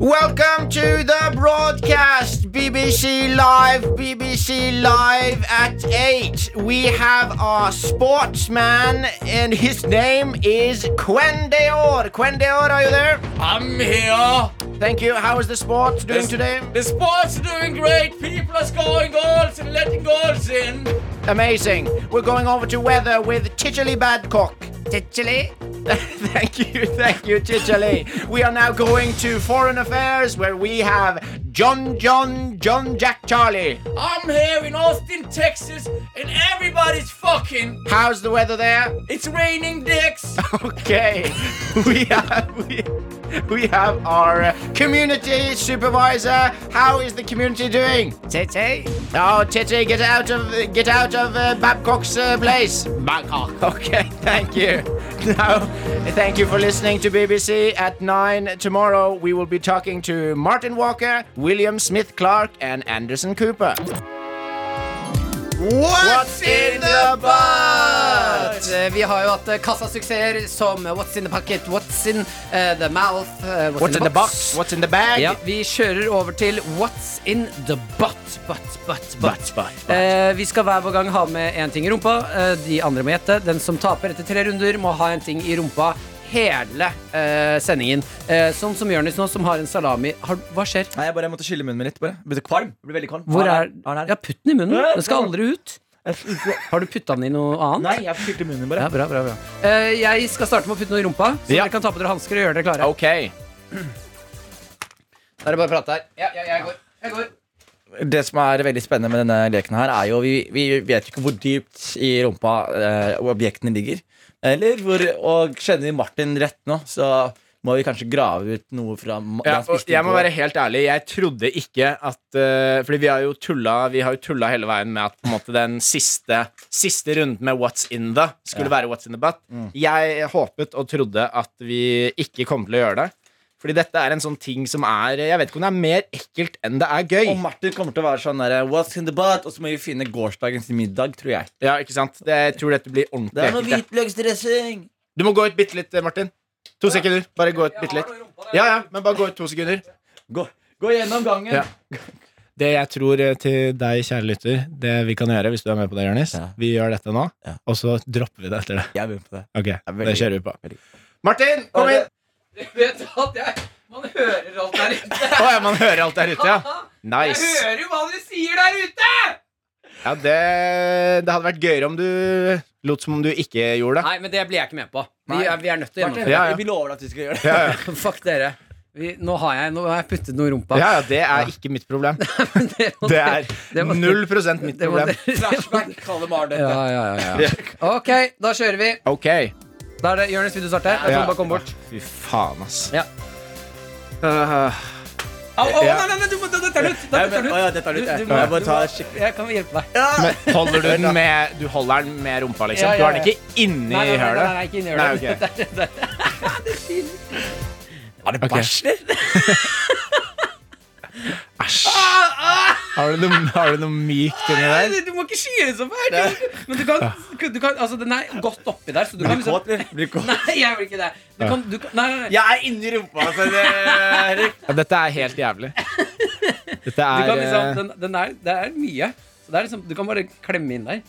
[SPEAKER 2] Welcome to the broadcast, BBC Live, BBC Live at 8. We have our sportsman, and his name is Quendeor. Quendeor, are you there?
[SPEAKER 4] I'm here.
[SPEAKER 2] Thank you. How is the sport doing
[SPEAKER 4] Yes.
[SPEAKER 2] today?
[SPEAKER 4] The sport's doing great. People are scoring goals and letting goals in.
[SPEAKER 2] Amazing. We're going over to weather with Tichely Badcock. Tichely? thank you, thank you, Tichely. we are now going to foreign affairs where we have John, John, John, Jack, Charlie.
[SPEAKER 4] I'm here in Austin, Texas, and everybody's fucking.
[SPEAKER 2] How's the weather there?
[SPEAKER 4] It's raining dicks.
[SPEAKER 2] Okay, we have we, we have our uh, community supervisor. How is the community doing? Tete. Oh, Tete, get out of get out of uh, Babcock's uh, place. Babcock. Okay, thank you. Now, thank you for listening to BBC at nine tomorrow. We will be talking to Martin Walker, William Smith Clark, and Anderson Cooper. What's in the butt?
[SPEAKER 3] Eh, Vi har jo hatt eh, kassasuksesser som What's in the pocket, What's in eh, the mouth, eh, What's,
[SPEAKER 2] What's in the box? What's in the bag?
[SPEAKER 3] Ja, vi kjører over til What's in the butt, butt, butt, butt. Eh, vi skal hver vår gang ha med én ting i rumpa. Eh, de andre må gjette. Den som taper etter tre runder, må ha en ting i rumpa hele eh, sendingen. Eh, sånn som Jonis nå, som har en salami. Har, hva skjer?
[SPEAKER 4] Nei, jeg bare måtte skylle munnen min litt. bare Jeg ble kvalm. Jeg ble veldig kvalm.
[SPEAKER 3] Hvor er
[SPEAKER 4] Har den her? Har den
[SPEAKER 3] Ja,
[SPEAKER 4] her?
[SPEAKER 3] putt den i munnen. Den skal aldri ut. Har du putta den i noe annet?
[SPEAKER 4] Nei, jeg skylte munnen min bare.
[SPEAKER 3] Ja, bra, bra, bra. Eh, jeg skal starte med å putte noe i rumpa, så
[SPEAKER 2] Ja.
[SPEAKER 3] dere kan ta på dere hansker og gjøre dere klare.
[SPEAKER 2] Okay.
[SPEAKER 3] Da er det bare å prate her. Ja, ja, jeg går. Jeg går.
[SPEAKER 4] Det som er veldig spennende med denne leken her, er jo vi, vi vet ikke hvor dypt i rumpa eh, objektene ligger. Eller hvor Og kjenner vi Martin rett nå, så må vi kanskje grave ut noe fra Ma- det
[SPEAKER 2] Ja,
[SPEAKER 4] han
[SPEAKER 2] og
[SPEAKER 4] spiste
[SPEAKER 2] jeg må
[SPEAKER 4] på-
[SPEAKER 2] være helt ærlig, jeg trodde ikke at eh, Fordi vi har jo tulla Vi har jo tulla hele veien med at på en måte, den siste Siste runden med What's in the skulle være What's in the butt. Jeg håpet og trodde at vi ikke kom til å gjøre det. Fordi dette er en sånn ting som er Jeg vet ikke om det er mer ekkelt enn det er gøy.
[SPEAKER 4] Og Martin kommer til å være sånn der, What's in the butt? Og så må vi finne gårsdagens middag, tror jeg.
[SPEAKER 2] Ja, ikke sant? Det, jeg tror dette blir ordentlig
[SPEAKER 4] Det er noe
[SPEAKER 2] ekkelt. ja.
[SPEAKER 4] hvitløksdressing!
[SPEAKER 2] Du må gå ut bitte litt, eh, Martin. To sekunder. Bare gå ut bitte litt. Ja, ja, men bare gå ut to sekunder.
[SPEAKER 4] Gå, gå gjennom gangen.
[SPEAKER 2] Ja. Det jeg tror eh, til deg, kjære lytter, det vi kan gjøre hvis du er med på det, Jonis
[SPEAKER 4] Ja.
[SPEAKER 2] Vi gjør dette nå,
[SPEAKER 4] Ja.
[SPEAKER 2] og så dropper vi det etter det.
[SPEAKER 4] Jeg begynner på det.
[SPEAKER 2] Ok,
[SPEAKER 4] veldig-
[SPEAKER 2] Det kjører vi på.
[SPEAKER 4] veldig.
[SPEAKER 2] Martin, kom inn!
[SPEAKER 3] Du vet at jeg Man hører alt der ute.
[SPEAKER 2] Å ja, man hører alt der ute, ja. Nice.
[SPEAKER 3] jo hva dere sier der ute!
[SPEAKER 2] Ja, det, det hadde vært gøyere om du lot som om du ikke gjorde det.
[SPEAKER 3] Nei, men det blir jeg ikke med på. Vi
[SPEAKER 4] Nei.
[SPEAKER 3] er, vi er nødt til å
[SPEAKER 4] Martin,
[SPEAKER 3] gjennomføre.
[SPEAKER 2] Ja, ja.
[SPEAKER 4] Vi lover at vi skal gjøre det.
[SPEAKER 2] Ja, ja.
[SPEAKER 3] Fuck dere. vi, nå, har jeg, nå har jeg puttet noe i rumpa.
[SPEAKER 2] Ja, ja, det er ikke mitt problem.
[SPEAKER 3] det, må
[SPEAKER 2] Det
[SPEAKER 3] dere-
[SPEAKER 2] er
[SPEAKER 3] det må-
[SPEAKER 2] 0 mitt
[SPEAKER 3] det må
[SPEAKER 2] problem.
[SPEAKER 3] dere-
[SPEAKER 6] Flashback, kaller Maren dette.
[SPEAKER 3] Ja, ja, ja, ja. Ok, da kjører vi.
[SPEAKER 2] Ok.
[SPEAKER 3] Da er det Jonis, vil du starte? Jeg tror
[SPEAKER 2] Ja.
[SPEAKER 3] du bare kom bort.
[SPEAKER 2] Fy faen, ass.
[SPEAKER 3] Ja.
[SPEAKER 2] Øh,
[SPEAKER 3] Au, au,
[SPEAKER 2] Ja.
[SPEAKER 3] nei, nei, nei, du må dette er slutt! Dette
[SPEAKER 4] Nei,
[SPEAKER 3] er
[SPEAKER 4] men, å,
[SPEAKER 3] slutt.
[SPEAKER 4] ja, dette er
[SPEAKER 3] Du-
[SPEAKER 4] litt
[SPEAKER 3] du
[SPEAKER 4] Jeg
[SPEAKER 3] må-
[SPEAKER 4] jeg bare
[SPEAKER 3] du
[SPEAKER 4] tar
[SPEAKER 3] må-
[SPEAKER 4] skikkelig
[SPEAKER 3] Jeg kan hjelpe deg.
[SPEAKER 2] men holder du den med Du holder den med rumpa, liksom?
[SPEAKER 3] Ja, ja,
[SPEAKER 2] Du har den
[SPEAKER 3] ja.
[SPEAKER 2] ikke inni
[SPEAKER 3] Nei, nei, nei, nei,
[SPEAKER 2] hølet?
[SPEAKER 3] nei, ikke inn i
[SPEAKER 2] Nei,
[SPEAKER 3] hølet.
[SPEAKER 2] ok.
[SPEAKER 4] Er det bæsj, eller?
[SPEAKER 2] Har du noe, har du noe mykt inni
[SPEAKER 3] Nei,
[SPEAKER 2] der?
[SPEAKER 3] nei, du må ikke skyre så fælt! du. Men du kan, du kan Altså, den er godt oppi der, så du kan liksom
[SPEAKER 4] Blir kåt.
[SPEAKER 3] Nei, jeg vil ikke det. Du kan, du kan, nei, nei, nei.
[SPEAKER 4] Jeg er inni rumpa, altså. Det, Erik.
[SPEAKER 2] Ja, dette er helt jævlig. Dette
[SPEAKER 3] Du
[SPEAKER 2] er
[SPEAKER 3] kan liksom
[SPEAKER 2] eh,
[SPEAKER 3] den, den er, Det er mye. Så det er liksom, du kan bare klemme inn der. Oi,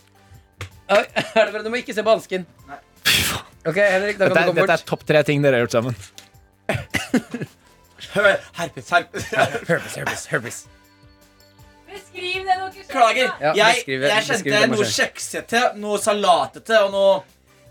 [SPEAKER 3] er det bra? Du må ikke se på hansken. Ok, Henrik, da
[SPEAKER 2] dette,
[SPEAKER 3] kan
[SPEAKER 2] er,
[SPEAKER 3] du komme
[SPEAKER 2] dette er
[SPEAKER 3] bort.
[SPEAKER 2] topp tre ting dere har gjort sammen.
[SPEAKER 4] Herpes, herpes. Herpes, herpes, herpes.
[SPEAKER 7] Beskriv det dere selv.
[SPEAKER 4] Beklager.
[SPEAKER 7] da.
[SPEAKER 3] Ja,
[SPEAKER 4] jeg,
[SPEAKER 3] beskriv-
[SPEAKER 4] jeg
[SPEAKER 3] beskriv
[SPEAKER 4] kjente
[SPEAKER 3] det,
[SPEAKER 4] noe
[SPEAKER 3] Marcel.
[SPEAKER 4] kjeksete, noe salatete og noe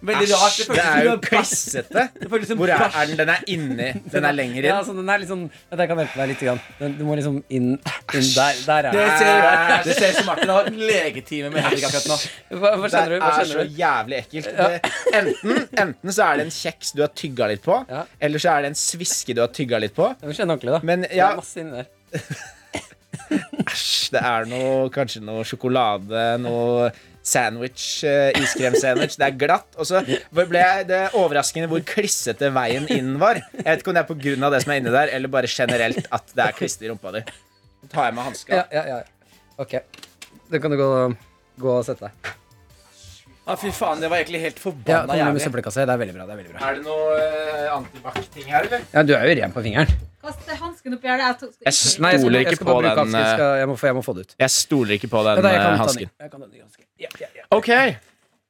[SPEAKER 4] veldig rart.
[SPEAKER 2] Æsj, det er jo klissete.
[SPEAKER 4] føles som
[SPEAKER 2] Hvor er,
[SPEAKER 4] bæsj.
[SPEAKER 2] er den? Den er inni. Den er lenger
[SPEAKER 3] Ja,
[SPEAKER 2] inn.
[SPEAKER 3] så den er litt sånn Vent, jeg kan hjelpe deg litt. Grann. Den, du må liksom inn, inn der. Der er
[SPEAKER 4] Det
[SPEAKER 3] den.
[SPEAKER 4] ser, det ser ut som Martin har en legetime med Henrik akkurat nå.
[SPEAKER 3] Hva, hva
[SPEAKER 2] Det
[SPEAKER 3] skjønner du? Hva
[SPEAKER 2] er så
[SPEAKER 3] skjønner du?
[SPEAKER 2] jævlig ekkelt. Det- Enten, enten så er det en kjeks du har tygga litt på,
[SPEAKER 3] Ja.
[SPEAKER 2] eller så er det en sviske du har tygga litt på.
[SPEAKER 3] Du må skjønne ordentlig, da.
[SPEAKER 2] Men
[SPEAKER 3] Det
[SPEAKER 2] ja,
[SPEAKER 3] er masse inni der.
[SPEAKER 2] Æsj, det er noe, kanskje noe sjokolade, noe sandwich, eh, iskremsandwich. Det er glatt. Og så ble jeg det er overraskende hvor klissete veien inn var. Jeg vet ikke om det er på grunn av det som er inni der, eller bare generelt at det er klister i rumpa di. Så tar jeg med hanska.
[SPEAKER 3] Ja, ja, ja. Ok. Da kan du gå, gå og sette deg.
[SPEAKER 4] Ah, fy faen, det var egentlig helt
[SPEAKER 3] Ja,
[SPEAKER 4] forbanna
[SPEAKER 3] kom med
[SPEAKER 4] jævlig.
[SPEAKER 3] søppelkassa. Det er veldig bra. det er veldig bra
[SPEAKER 2] Er det noe eh, antibac-ting her, eller?
[SPEAKER 3] Ja, Du er jo ren på fingeren.
[SPEAKER 7] Kast hansken oppi her. det er to-
[SPEAKER 2] Jeg
[SPEAKER 3] Nei, jeg skal,
[SPEAKER 2] stoler
[SPEAKER 3] bare- jeg
[SPEAKER 2] ikke
[SPEAKER 3] skal
[SPEAKER 2] på
[SPEAKER 3] bare
[SPEAKER 2] den
[SPEAKER 3] bruke hansken. Jeg, skal- jeg, må få- jeg må få det ut.
[SPEAKER 2] Jeg stoler ikke på
[SPEAKER 3] Ja,
[SPEAKER 2] den eh,
[SPEAKER 3] da, jeg kan ta den
[SPEAKER 2] hansken.
[SPEAKER 3] i. Jeg kan ta den i hansken. Ja, ja, ja.
[SPEAKER 2] Ok.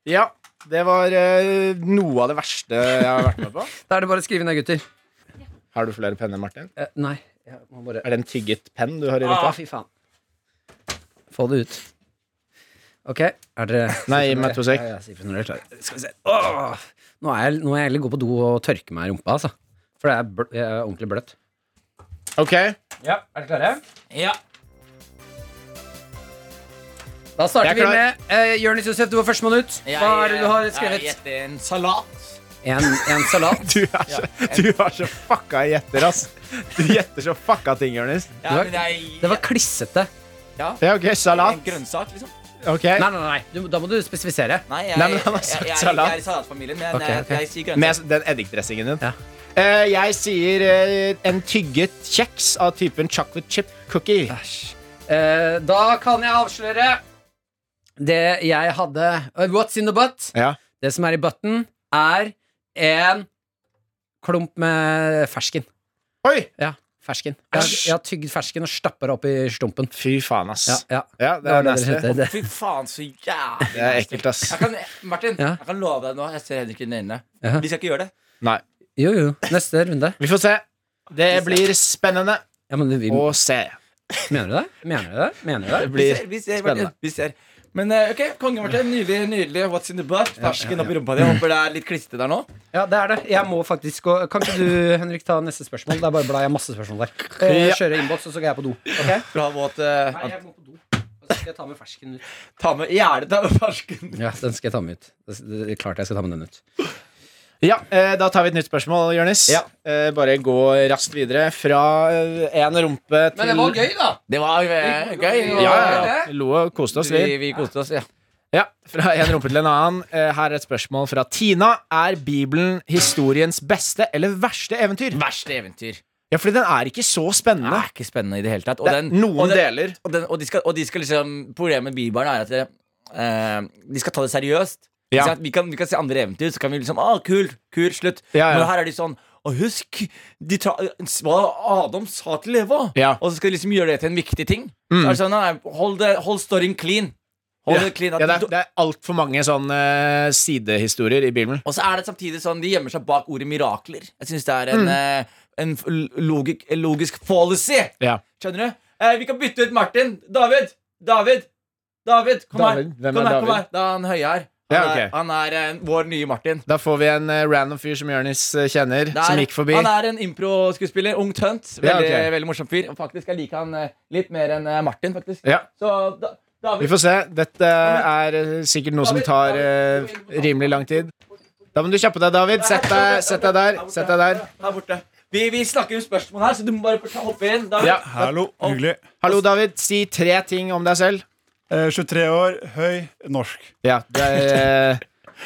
[SPEAKER 2] Ja. Det var eh, noe av det verste jeg har vært med på.
[SPEAKER 3] Da er det bare å skrive ned, gutter.
[SPEAKER 2] Har du flere penner, Martin?
[SPEAKER 3] Eh, nei. Jeg må bare
[SPEAKER 2] Er det en tygget penn du har i
[SPEAKER 3] ah,
[SPEAKER 2] rumpa?
[SPEAKER 3] Fy faen. Få det ut. Ok, er dere
[SPEAKER 2] Nei, gi meg to sek.
[SPEAKER 3] Ja, ja, si fra når dere er klare. Skal vi se. Åh! Nå er jeg, nå er jeg heller gå på do og tørke meg i rumpa, altså. For det er, bl jeg er ordentlig bløtt.
[SPEAKER 2] Ok.
[SPEAKER 3] Ja, Er dere klare?
[SPEAKER 4] Ja.
[SPEAKER 3] Da
[SPEAKER 2] Jeg
[SPEAKER 3] starter
[SPEAKER 2] er
[SPEAKER 3] vi
[SPEAKER 2] klar.
[SPEAKER 3] med uh, Jonis Josef, du var førstemann ut. Hva er det du har skrevet?
[SPEAKER 4] eh, Jeg gjetter en salat.
[SPEAKER 3] En, en salat.
[SPEAKER 2] Du er så, du er så fucka gjetter, ass. Du gjetter så fucka ting, Jonis.
[SPEAKER 4] Ja,
[SPEAKER 3] var-
[SPEAKER 4] men jeg,
[SPEAKER 3] Det var klissete.
[SPEAKER 2] Ja, OK,
[SPEAKER 4] en
[SPEAKER 2] salat.
[SPEAKER 4] grønnsak, liksom.
[SPEAKER 2] Ok.
[SPEAKER 3] Nei, nei, nei. Du, da må du spesifisere.
[SPEAKER 4] Nei, jeg,
[SPEAKER 2] Nei, men han har
[SPEAKER 4] jeg,
[SPEAKER 2] sagt
[SPEAKER 4] jeg, jeg,
[SPEAKER 2] salat.
[SPEAKER 4] er i salatfamilien, men jeg,
[SPEAKER 3] Ok, ok.
[SPEAKER 4] jeg, jeg sier grønnsak.
[SPEAKER 2] Med den eddikdressingen din.
[SPEAKER 3] Ja.
[SPEAKER 2] Eh, jeg sier eh, en tygget kjeks av typen chocolate chip cookie.
[SPEAKER 3] Æsj. Eh, da kan jeg avsløre det jeg hadde Eh, What's in the butt?
[SPEAKER 2] Ja.
[SPEAKER 3] Det som er i button, er en klump med fersken.
[SPEAKER 2] Oi!
[SPEAKER 3] Ja, fersken. Jeg, har-
[SPEAKER 2] Æsj.
[SPEAKER 3] jeg har tygd fersken og stappa det opp i stumpen.
[SPEAKER 2] Fy faen, ass.
[SPEAKER 3] Ja,
[SPEAKER 2] Ja,
[SPEAKER 3] ja.
[SPEAKER 2] det er
[SPEAKER 3] det
[SPEAKER 2] nasty.
[SPEAKER 3] dere kjente. Det-
[SPEAKER 4] Fy faen, så jævlig
[SPEAKER 2] Det er ekkelt, ass.
[SPEAKER 4] Jeg kan, Martin,
[SPEAKER 3] Ja.
[SPEAKER 4] jeg kan love deg nå. Jeg ser Henrik i øynene.
[SPEAKER 3] Ja.
[SPEAKER 4] Vi skal ikke gjøre det.
[SPEAKER 2] Nei.
[SPEAKER 3] Jo, jo. Neste runde.
[SPEAKER 2] Vi får se. Det blir spennende
[SPEAKER 3] Ja, men vi,
[SPEAKER 2] å se.
[SPEAKER 3] Mener du det? Mener du det? Mener du det?
[SPEAKER 2] Det
[SPEAKER 4] Vi
[SPEAKER 2] blir
[SPEAKER 4] ser, vi ser,
[SPEAKER 3] spennende.
[SPEAKER 4] Martin, vi ser. Men eh, ok, konge, Martin. Nydelig. nydelig What's in the butt? Fersken opp i rumpa di. Håper det er litt klissete der nå.
[SPEAKER 3] Ja, det er det. Jeg må faktisk gå Kan ikke du, Henrik, ta neste spørsmål? Det er bare bla, jeg har masse spørsmål der. Eh,
[SPEAKER 2] Ja.
[SPEAKER 3] Kjøre innboks, og så går jeg på do. Ok?
[SPEAKER 4] For å ha våt eh,
[SPEAKER 3] Nei, jeg må på do. Og så skal jeg ta med fersken ut.
[SPEAKER 4] Ta med gjerne ta med fersken.
[SPEAKER 3] Ja, den skal jeg ta med ut. Det, det, det er klart jeg skal ta med den ut.
[SPEAKER 2] Ja, eh, da tar vi et nytt spørsmål, Jonis.
[SPEAKER 4] Ja.
[SPEAKER 2] Eh, bare gå raskt videre fra én rumpe til
[SPEAKER 3] gøy, da!
[SPEAKER 4] Det var eh, gøy.
[SPEAKER 2] Ja, ja, ja. Vi lo og koste oss, vi.
[SPEAKER 4] Vi, vi koste oss, ja.
[SPEAKER 2] Ja, fra en rumpe til en annen. Eh, Her er et spørsmål fra Tina. Er Bibelen historiens beste eller verste eventyr?
[SPEAKER 4] Verste eventyr.
[SPEAKER 2] Ja, fordi den er ikke så
[SPEAKER 4] Det
[SPEAKER 2] spennende.
[SPEAKER 4] er ikke spennende i det hele tatt. Og
[SPEAKER 2] Det er
[SPEAKER 4] den-
[SPEAKER 2] noen
[SPEAKER 4] og den-
[SPEAKER 2] deler.
[SPEAKER 4] Og, den, og, de skal, og de skal liksom Problemet med bibelen er at det, eh, de skal ta det seriøst.
[SPEAKER 2] Ja.
[SPEAKER 4] Ikke sant? Vi, kan, vi kan se andre eventyr, så kan vi liksom Å, kult, kult, slutt.
[SPEAKER 2] Ja, ja.
[SPEAKER 4] Men her er de sånn Og husk de tra hva Adam sa til Eva.
[SPEAKER 2] Ja. Mm.
[SPEAKER 4] Og så skal de liksom gjøre det til en viktig ting. Så er det sånn, nei, hold, det, hold storyen clean. Hold det clean
[SPEAKER 2] Ja,
[SPEAKER 4] at
[SPEAKER 2] det er,
[SPEAKER 4] du-
[SPEAKER 2] det er altfor mange sånne eh, sidehistorier i Bibelen.
[SPEAKER 4] og så er det samtidig sånn De gjemmer seg bak ordet mirakler. Jeg syns det er
[SPEAKER 2] Mm.
[SPEAKER 4] en, eh, en f- logik, en logisk fallacy.
[SPEAKER 2] Ja.
[SPEAKER 4] Skjønner du? Eh, vi kan bytte ut Martin. David! David! David, kom
[SPEAKER 2] David?
[SPEAKER 4] her.
[SPEAKER 2] Hvem
[SPEAKER 4] Kom
[SPEAKER 2] er
[SPEAKER 4] her, kom
[SPEAKER 2] David?
[SPEAKER 4] her. Det er han høye her. Han,
[SPEAKER 2] Ja, ok.
[SPEAKER 4] er, han er eh, vår nye Martin.
[SPEAKER 2] Da får vi en eh, random fyr som Jonis eh, kjenner,
[SPEAKER 4] Det er-
[SPEAKER 2] som gikk forbi.
[SPEAKER 4] Han er en impro-skuespiller. Ung tønt. Veldig,
[SPEAKER 2] Ja, ok.
[SPEAKER 4] veldig morsom fyr. Og Faktisk, Jeg liker han eh, litt mer enn eh, Martin, faktisk.
[SPEAKER 2] Ja,
[SPEAKER 4] Så da,
[SPEAKER 2] Vi
[SPEAKER 4] David,
[SPEAKER 2] får se. Dette er eh, sikkert noe som tar eh, rimelig lang tid. Da må du kjappe deg, David. Sett deg, sett deg der. Sett deg der.
[SPEAKER 4] her borte. Vi, vi snakker om spørsmål her, så du må bare ta- hoppe inn. David.
[SPEAKER 2] Ja.
[SPEAKER 8] Hallo, hyggelig.
[SPEAKER 2] Hallo, David. Si tre ting om deg selv.
[SPEAKER 8] Eh, 23 år, høy, norsk.
[SPEAKER 2] Ja, det er, eh,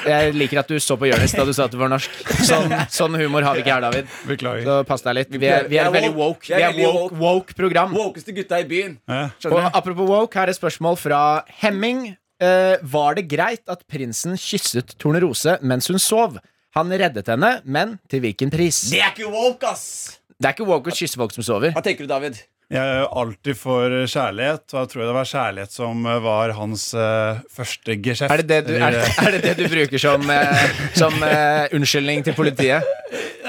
[SPEAKER 2] jeg liker at du så på Jonis da du sa at du var norsk. Sånn, sånn humor har vi ikke her, David.
[SPEAKER 8] Beklager.
[SPEAKER 2] Så pass deg litt. Vi er, vi er veldig woke. Vi er woke, woke program.
[SPEAKER 4] Wokeste gutta i byen.
[SPEAKER 8] Eh,
[SPEAKER 2] Og
[SPEAKER 8] skjønner du?
[SPEAKER 2] apropos woke, her er et spørsmål fra Hemming. Eh, var det greit at prinsen kysset Tornerose mens hun sov? Han reddet henne, men til hvilken pris?
[SPEAKER 4] Det er ikke woke, ass!
[SPEAKER 2] Det er ikke woke å kysse folk som sover.
[SPEAKER 4] Hva tenker du, David?
[SPEAKER 8] Jeg er jo alltid for eh, kjærlighet, og jeg tror det var kjærlighet som eh, var hans eh, første geskjeft.
[SPEAKER 2] Er det det du, er det, er det, det du bruker som, eh, som eh, unnskyldning til politiet?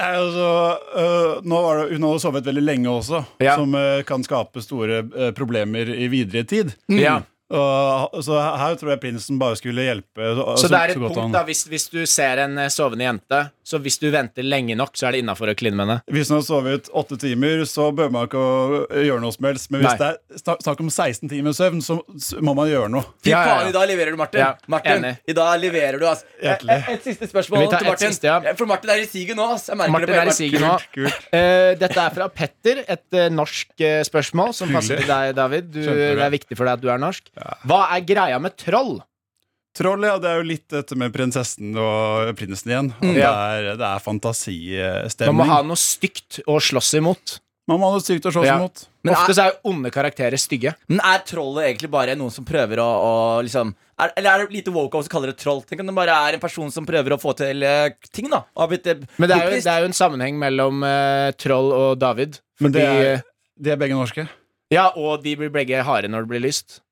[SPEAKER 8] Nei, altså, øh, nå var det, hun hadde sovet veldig lenge også,
[SPEAKER 2] Ja.
[SPEAKER 8] som øh, kan skape store øh, problemer i videre tid.
[SPEAKER 2] Ja.
[SPEAKER 8] Og, eh, så her tror jeg prinsen bare skulle hjelpe. øh,
[SPEAKER 2] Altså, Så det er et
[SPEAKER 8] godt
[SPEAKER 2] punkt,
[SPEAKER 8] han-
[SPEAKER 2] da, hvis, hvis du ser en eh, sovende jente, så hvis du venter lenge nok, så er det innafor å kline med henne.
[SPEAKER 8] Hvis hun har sovet åtte timer, så bør man ikke å eh, gjøre noe som helst. Men hvis
[SPEAKER 2] Nei.
[SPEAKER 8] det er snak- snakk om 16 timer søvn, så, så må man gjøre noe.
[SPEAKER 4] Fy
[SPEAKER 2] Ja, ja, ja.
[SPEAKER 4] faen, i dag leverer du, Martin.
[SPEAKER 2] Ja,
[SPEAKER 4] Martin,
[SPEAKER 2] enig.
[SPEAKER 4] I dag leverer du, ass. Et,
[SPEAKER 8] Hjertelig.
[SPEAKER 4] et siste spørsmål
[SPEAKER 2] Vi tar
[SPEAKER 4] til
[SPEAKER 2] et
[SPEAKER 4] Martin.
[SPEAKER 2] siste, ja.
[SPEAKER 4] For Martin er i siget nå, ass. Jeg merker
[SPEAKER 2] Martin
[SPEAKER 4] det på
[SPEAKER 2] er i
[SPEAKER 4] hele
[SPEAKER 2] siget nå.
[SPEAKER 8] Kult.
[SPEAKER 2] Eh, dette er fra Petter, et eh, norsk eh, spørsmål som passer
[SPEAKER 8] Hyggelig.
[SPEAKER 2] til deg, David. Du, eh,
[SPEAKER 8] Kjempebra.
[SPEAKER 2] det er viktig for deg at du er norsk. Hva er greia med troll?
[SPEAKER 8] Troll, ja. Det er jo litt dette med prinsessen og prinsen igjen. At det, er, det er fantasistemning.
[SPEAKER 2] Mm. Man må ha noe stygt å slåss imot.
[SPEAKER 8] man må ha noe sykt å slåss
[SPEAKER 2] Ja.
[SPEAKER 8] imot.
[SPEAKER 4] Men
[SPEAKER 2] Ofte så er jo onde karakterer stygge.
[SPEAKER 4] Men er trollet egentlig bare noen som prøver å, å liksom er, Eller er det lite woke av oss som kaller det troll? Tenk om det bare er en person som prøver å få til eh, ting, da. Og har blitt, eh,
[SPEAKER 2] Men det er jo,
[SPEAKER 4] bortprist.
[SPEAKER 2] det er jo en sammenheng mellom eh, troll og David.
[SPEAKER 8] Men
[SPEAKER 2] Fordi, eh,
[SPEAKER 8] det er, de er begge norske.
[SPEAKER 2] Ja, og de blir begge harde når det blir lyst.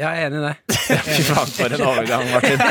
[SPEAKER 3] Jeg er enig i det.
[SPEAKER 2] Fy faen, for en overgang, Martin.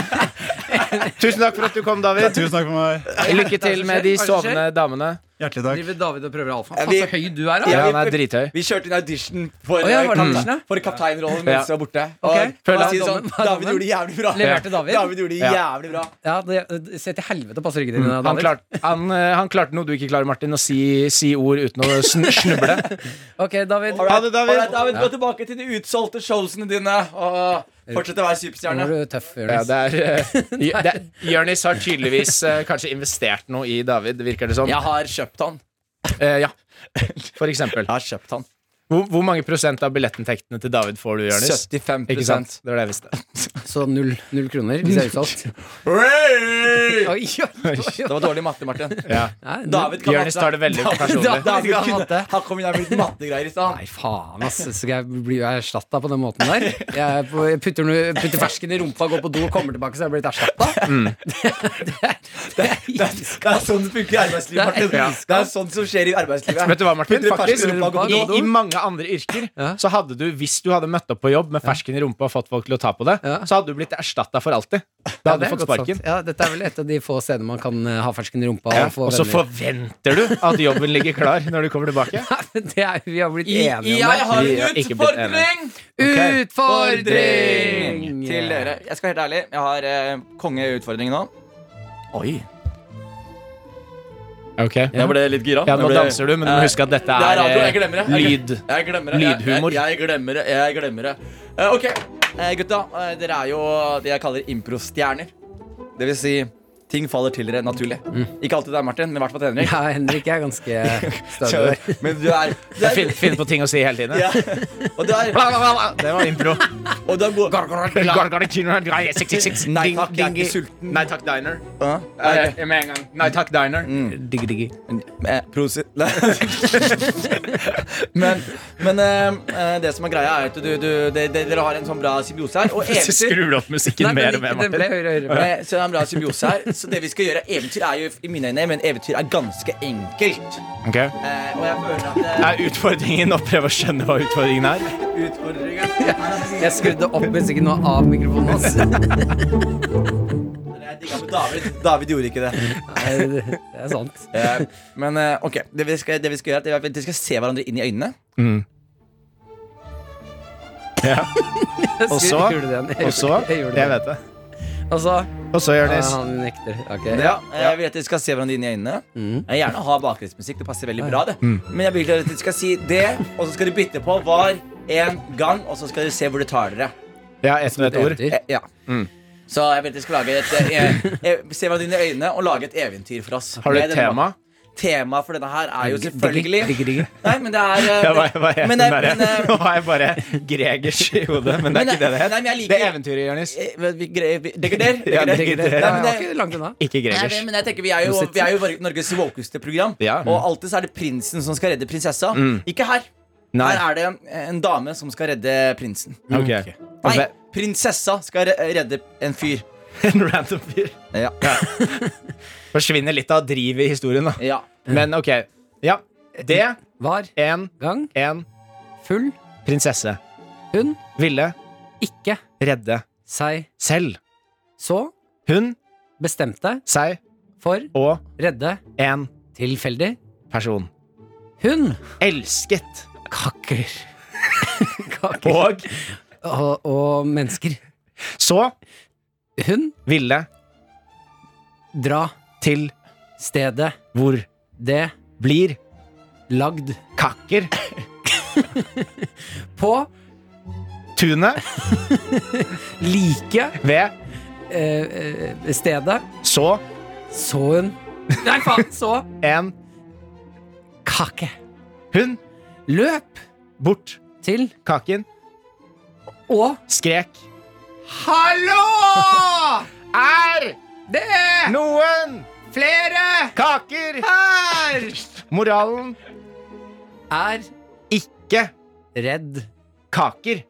[SPEAKER 2] Tusen takk for at du kom, David.
[SPEAKER 8] Tusen takk for meg.
[SPEAKER 2] Lykke til med de
[SPEAKER 3] Hva er det som skjer?
[SPEAKER 2] sovende damene.
[SPEAKER 8] Hjertelig takk.
[SPEAKER 3] Driver David og prøver alfa?
[SPEAKER 4] Ja,
[SPEAKER 3] Faen,
[SPEAKER 4] vi-
[SPEAKER 3] så høy du er, da.
[SPEAKER 4] Ja,
[SPEAKER 2] Ja,
[SPEAKER 4] vi-
[SPEAKER 2] han er drithøy.
[SPEAKER 4] Vi kjørte en audition for,
[SPEAKER 3] Å ja,
[SPEAKER 4] eh,
[SPEAKER 3] var det
[SPEAKER 4] kap-
[SPEAKER 3] audition, da?
[SPEAKER 4] for kapteinrollen
[SPEAKER 2] Ja.
[SPEAKER 4] mens jeg var borte.
[SPEAKER 3] Ok.
[SPEAKER 4] Og,
[SPEAKER 3] Føler
[SPEAKER 4] og
[SPEAKER 3] jeg
[SPEAKER 4] si sånn,
[SPEAKER 3] dommen- hva er
[SPEAKER 4] David
[SPEAKER 3] dommen?
[SPEAKER 4] gjorde det jævlig bra.
[SPEAKER 3] Leverte David?
[SPEAKER 4] David gjorde det
[SPEAKER 2] Ja.
[SPEAKER 4] jævlig bra.
[SPEAKER 3] Ja, det, det Se til helvete passer ikke til dine,
[SPEAKER 2] Han,
[SPEAKER 3] David.
[SPEAKER 2] klart, han, eh, han klarte noe du ikke klarer, Martin, å si, si ord uten å sn snuble.
[SPEAKER 3] Ok, David.
[SPEAKER 4] Alright.
[SPEAKER 2] det, David.
[SPEAKER 4] Alright, David, Gå tilbake til de utsolgte showsene dine. Og fortsett å være
[SPEAKER 3] Nå
[SPEAKER 4] superstjerne.
[SPEAKER 3] er du tøff,
[SPEAKER 2] Ja,
[SPEAKER 3] Jonis.
[SPEAKER 2] det er, eh, J- det er- Jørnis har tydeligvis eh, kanskje investert noe i David, virker det som.
[SPEAKER 4] Jeg har kjøpt han.
[SPEAKER 2] Eh, ja. For eksempel.
[SPEAKER 4] Jeg har kjøpt han
[SPEAKER 2] Hvor, hvor mange prosent av billettinntektene til David får du, Jørnis?
[SPEAKER 4] 75
[SPEAKER 2] Ikke sant? Det var det jeg visste.
[SPEAKER 3] Så null, null kroner, hvis jeg er utsolgt.
[SPEAKER 4] Hey!
[SPEAKER 3] Oi, oi, oi,
[SPEAKER 4] Det
[SPEAKER 3] oi.
[SPEAKER 4] var dårlig matte, Martin.
[SPEAKER 2] Ja.
[SPEAKER 3] Nei, null-
[SPEAKER 4] David kan
[SPEAKER 2] Jørnis tar det veldig personlig.
[SPEAKER 4] David
[SPEAKER 3] David
[SPEAKER 4] kan
[SPEAKER 3] kan
[SPEAKER 4] matte. Han kom inn her med litt mattegreier i stad.
[SPEAKER 3] Nei, faen, ass. Skal jeg bli erstatta på den måten der? Jeg, er på, jeg putter, noe- putter fersken i rumpa, går på do, kommer tilbake, så er jeg blitt erstatta?
[SPEAKER 2] Mm.
[SPEAKER 4] Det er, det er sånn det funker i arbeidslivet, Martin.
[SPEAKER 3] Ja.
[SPEAKER 4] Det er sånn som skjer i arbeidslivet.
[SPEAKER 2] Vet du hva, Martin?
[SPEAKER 4] Putter fersken
[SPEAKER 2] Faktisk,
[SPEAKER 4] i rumpa,
[SPEAKER 2] i,
[SPEAKER 4] går på
[SPEAKER 2] I
[SPEAKER 4] do.
[SPEAKER 2] mange andre yrker
[SPEAKER 3] Ja.
[SPEAKER 2] så hadde du, hvis du hadde møtt opp på jobb med fersken i rumpa og fått folk til å ta på det,
[SPEAKER 3] Ja.
[SPEAKER 2] så hadde du blitt erstatta for alltid. Da hadde
[SPEAKER 3] det
[SPEAKER 2] du
[SPEAKER 3] er
[SPEAKER 2] fått
[SPEAKER 3] godt
[SPEAKER 2] sparken.
[SPEAKER 3] sant. Ja, dette er vel et av de få stedene man kan eh, ha fersken i rumpa
[SPEAKER 2] Ja.
[SPEAKER 3] og få
[SPEAKER 2] Og så
[SPEAKER 3] venner.
[SPEAKER 2] forventer du at jobben ligger klar når du kommer tilbake.
[SPEAKER 3] Men det er, vi har blitt enige om det.
[SPEAKER 4] Jeg har
[SPEAKER 2] Vi har
[SPEAKER 4] en
[SPEAKER 2] ikke blitt
[SPEAKER 4] utfordring!
[SPEAKER 2] Ok.
[SPEAKER 3] Utfordring!
[SPEAKER 4] Til dere. Jeg skal være helt ærlig, jeg har eh, kongeutfordring nå. Oi.
[SPEAKER 2] Ok
[SPEAKER 4] Jeg ble litt gira.
[SPEAKER 2] Ja, nå danser du, men du må huske at dette
[SPEAKER 4] Det er radio. Jeg
[SPEAKER 2] er
[SPEAKER 4] glemmer det.
[SPEAKER 2] eh,
[SPEAKER 4] Jeg
[SPEAKER 2] lyd.
[SPEAKER 4] glem- Jeg glemmer det. Jeg-
[SPEAKER 2] Lydhumor.
[SPEAKER 4] Jeg, jeg glemmer det. Jeg glemmer det. Eh, ok, Eh, gutta. eh, dere er jo det jeg kaller improstjerner. Det vil si ting faller til dere naturlig.
[SPEAKER 2] Mm.
[SPEAKER 4] Ikke alltid deg, Martin, men i hvert fall til Henrik.
[SPEAKER 3] Ja, Henrik er ganske stødig der.
[SPEAKER 4] Men du er, du er
[SPEAKER 2] Finn, finn på ting å si hele tiden.
[SPEAKER 4] ja. Og du er,
[SPEAKER 2] Det var impro.
[SPEAKER 4] og du er god
[SPEAKER 2] Nei
[SPEAKER 4] takk, jeg er ikke sulten.
[SPEAKER 2] Nei takk, diner.
[SPEAKER 4] Hæ?
[SPEAKER 2] Eh, Med en gang. Nei takk, diner.
[SPEAKER 4] Mm.
[SPEAKER 3] Digg, digg.
[SPEAKER 4] Eh, Prosit. Nei. men men eh, eh, det som er greia, er at du, du, det, det, dere har en sånn bra symbiose her. Og eventyr
[SPEAKER 2] Skrur du opp musikken
[SPEAKER 3] Nei,
[SPEAKER 2] mer
[SPEAKER 3] den
[SPEAKER 2] og mer,
[SPEAKER 3] gikk- den ble
[SPEAKER 2] Martin?
[SPEAKER 3] høyere og høyere.
[SPEAKER 4] Eh, Så det er en bra symbiose her. Så det vi skal gjøre, eventyr er jo i mine øyne, men eventyr er ganske enkelt.
[SPEAKER 2] Ok.
[SPEAKER 4] Eh, og jeg føler at eh,
[SPEAKER 2] Er utfordringen å prøve å skjønne hva utfordringen er?
[SPEAKER 4] utfordringen
[SPEAKER 3] Jeg skrudde opp musikken nå av mikrofonen hans.
[SPEAKER 4] Jeg digga med David. David gjorde ikke det.
[SPEAKER 3] Nei, det det er sant.
[SPEAKER 4] Eh, men eh, ok, det vi, skal, det vi skal gjøre, er at vi- vi skal se hverandre inn i øynene.
[SPEAKER 3] Jeg
[SPEAKER 2] Og så-
[SPEAKER 3] skrudde den igjen.
[SPEAKER 2] Og så
[SPEAKER 3] Jeg
[SPEAKER 2] Jeg
[SPEAKER 3] gjorde det.
[SPEAKER 2] vet det.
[SPEAKER 3] Og så
[SPEAKER 2] Og så,
[SPEAKER 3] Ja,
[SPEAKER 2] Jonis.
[SPEAKER 3] Han nekter. Ok.
[SPEAKER 4] Ja, Eh, Mm. jeg vil at dere skal se hverandre inn i øynene. Jeg vil gjerne ha bakgrunnsmusikk. Det passer veldig bra. det Men jeg vil at dere skal si det, og så skal dere bytte på var en gang, og så skal dere se hvor dere tar dere.
[SPEAKER 2] Ja, etter et ord.
[SPEAKER 3] Eventyr.
[SPEAKER 4] Eh, Ja.
[SPEAKER 2] Mm.
[SPEAKER 4] Så jeg vil at dere skal lage et eh, eh, Se hverandre inn i øynene og lage et eventyr for oss.
[SPEAKER 2] Har du
[SPEAKER 4] Med
[SPEAKER 2] et
[SPEAKER 4] denne
[SPEAKER 2] tema?
[SPEAKER 4] bak- Tema for denne her er jo selvfølgelig
[SPEAKER 3] Digg, digg, digg.
[SPEAKER 4] Nei, men det er eh,
[SPEAKER 2] Ja, hva, hva er
[SPEAKER 4] men,
[SPEAKER 2] den
[SPEAKER 4] det-
[SPEAKER 2] derre-
[SPEAKER 4] men, eh,
[SPEAKER 2] Nå har jeg bare Gregers i hodet, men det er
[SPEAKER 4] Men
[SPEAKER 2] ikke det det
[SPEAKER 4] nei, men
[SPEAKER 2] heter.
[SPEAKER 4] jeg liker-
[SPEAKER 2] Det er eventyret, Jonis.
[SPEAKER 4] eh, vi- vi- vi- Degrader?
[SPEAKER 2] Ja,
[SPEAKER 4] Degrader?
[SPEAKER 2] digg, digg.
[SPEAKER 4] Nei,
[SPEAKER 3] Ja,
[SPEAKER 4] men
[SPEAKER 3] ja,
[SPEAKER 4] det-
[SPEAKER 3] ok, langt unna.
[SPEAKER 2] Ikke
[SPEAKER 4] Nei,
[SPEAKER 2] Gregers.
[SPEAKER 4] det- men jeg tenker Vi er jo, vi er jo Nor- Norges våkeste program,
[SPEAKER 2] Ja. Mm.
[SPEAKER 4] og alltid så er det prinsen som skal redde prinsessa. Ikke her.
[SPEAKER 2] Nei.
[SPEAKER 4] Her er det en, en dame som skal redde prinsen.
[SPEAKER 2] Ok. Og
[SPEAKER 4] Nei,
[SPEAKER 2] hve-
[SPEAKER 4] prinsessa skal re- redde en fyr.
[SPEAKER 2] En random fyr.
[SPEAKER 4] Ja.
[SPEAKER 2] Forsvinner litt av drivet i historien, da.
[SPEAKER 4] ja.
[SPEAKER 2] Men ok. Ja. Det
[SPEAKER 3] Var,
[SPEAKER 2] en,
[SPEAKER 3] gang,
[SPEAKER 2] en
[SPEAKER 3] full,
[SPEAKER 2] prinsesse
[SPEAKER 3] hun,
[SPEAKER 2] ville
[SPEAKER 3] ikke,
[SPEAKER 2] redde
[SPEAKER 3] seg,
[SPEAKER 2] selv.
[SPEAKER 3] så,
[SPEAKER 2] Hun,
[SPEAKER 3] bestemte,
[SPEAKER 2] seg
[SPEAKER 3] for,
[SPEAKER 2] og
[SPEAKER 3] redde,
[SPEAKER 2] en
[SPEAKER 3] tilfeldig,
[SPEAKER 2] person.
[SPEAKER 3] hun,
[SPEAKER 2] Elsket.
[SPEAKER 3] kaker. kaker.
[SPEAKER 2] Og
[SPEAKER 3] Og, og mennesker.
[SPEAKER 2] så
[SPEAKER 3] Hun,
[SPEAKER 2] ville
[SPEAKER 3] dra,
[SPEAKER 2] til
[SPEAKER 3] stedet,
[SPEAKER 2] hvor
[SPEAKER 3] det,
[SPEAKER 2] blir
[SPEAKER 3] lagd,
[SPEAKER 2] kakker
[SPEAKER 3] på,
[SPEAKER 2] tunet
[SPEAKER 3] like,
[SPEAKER 2] ved
[SPEAKER 3] eh, eh, stedet,
[SPEAKER 2] så
[SPEAKER 3] så hun, nei faen, så,
[SPEAKER 2] en
[SPEAKER 3] kake.
[SPEAKER 2] hund
[SPEAKER 3] Løp
[SPEAKER 2] bort
[SPEAKER 3] til,
[SPEAKER 2] kaken,
[SPEAKER 3] og,
[SPEAKER 2] skrek Hallo! Er det noen flere kaker her? Moralen
[SPEAKER 3] er,
[SPEAKER 2] ikke
[SPEAKER 3] redd.
[SPEAKER 2] kaker.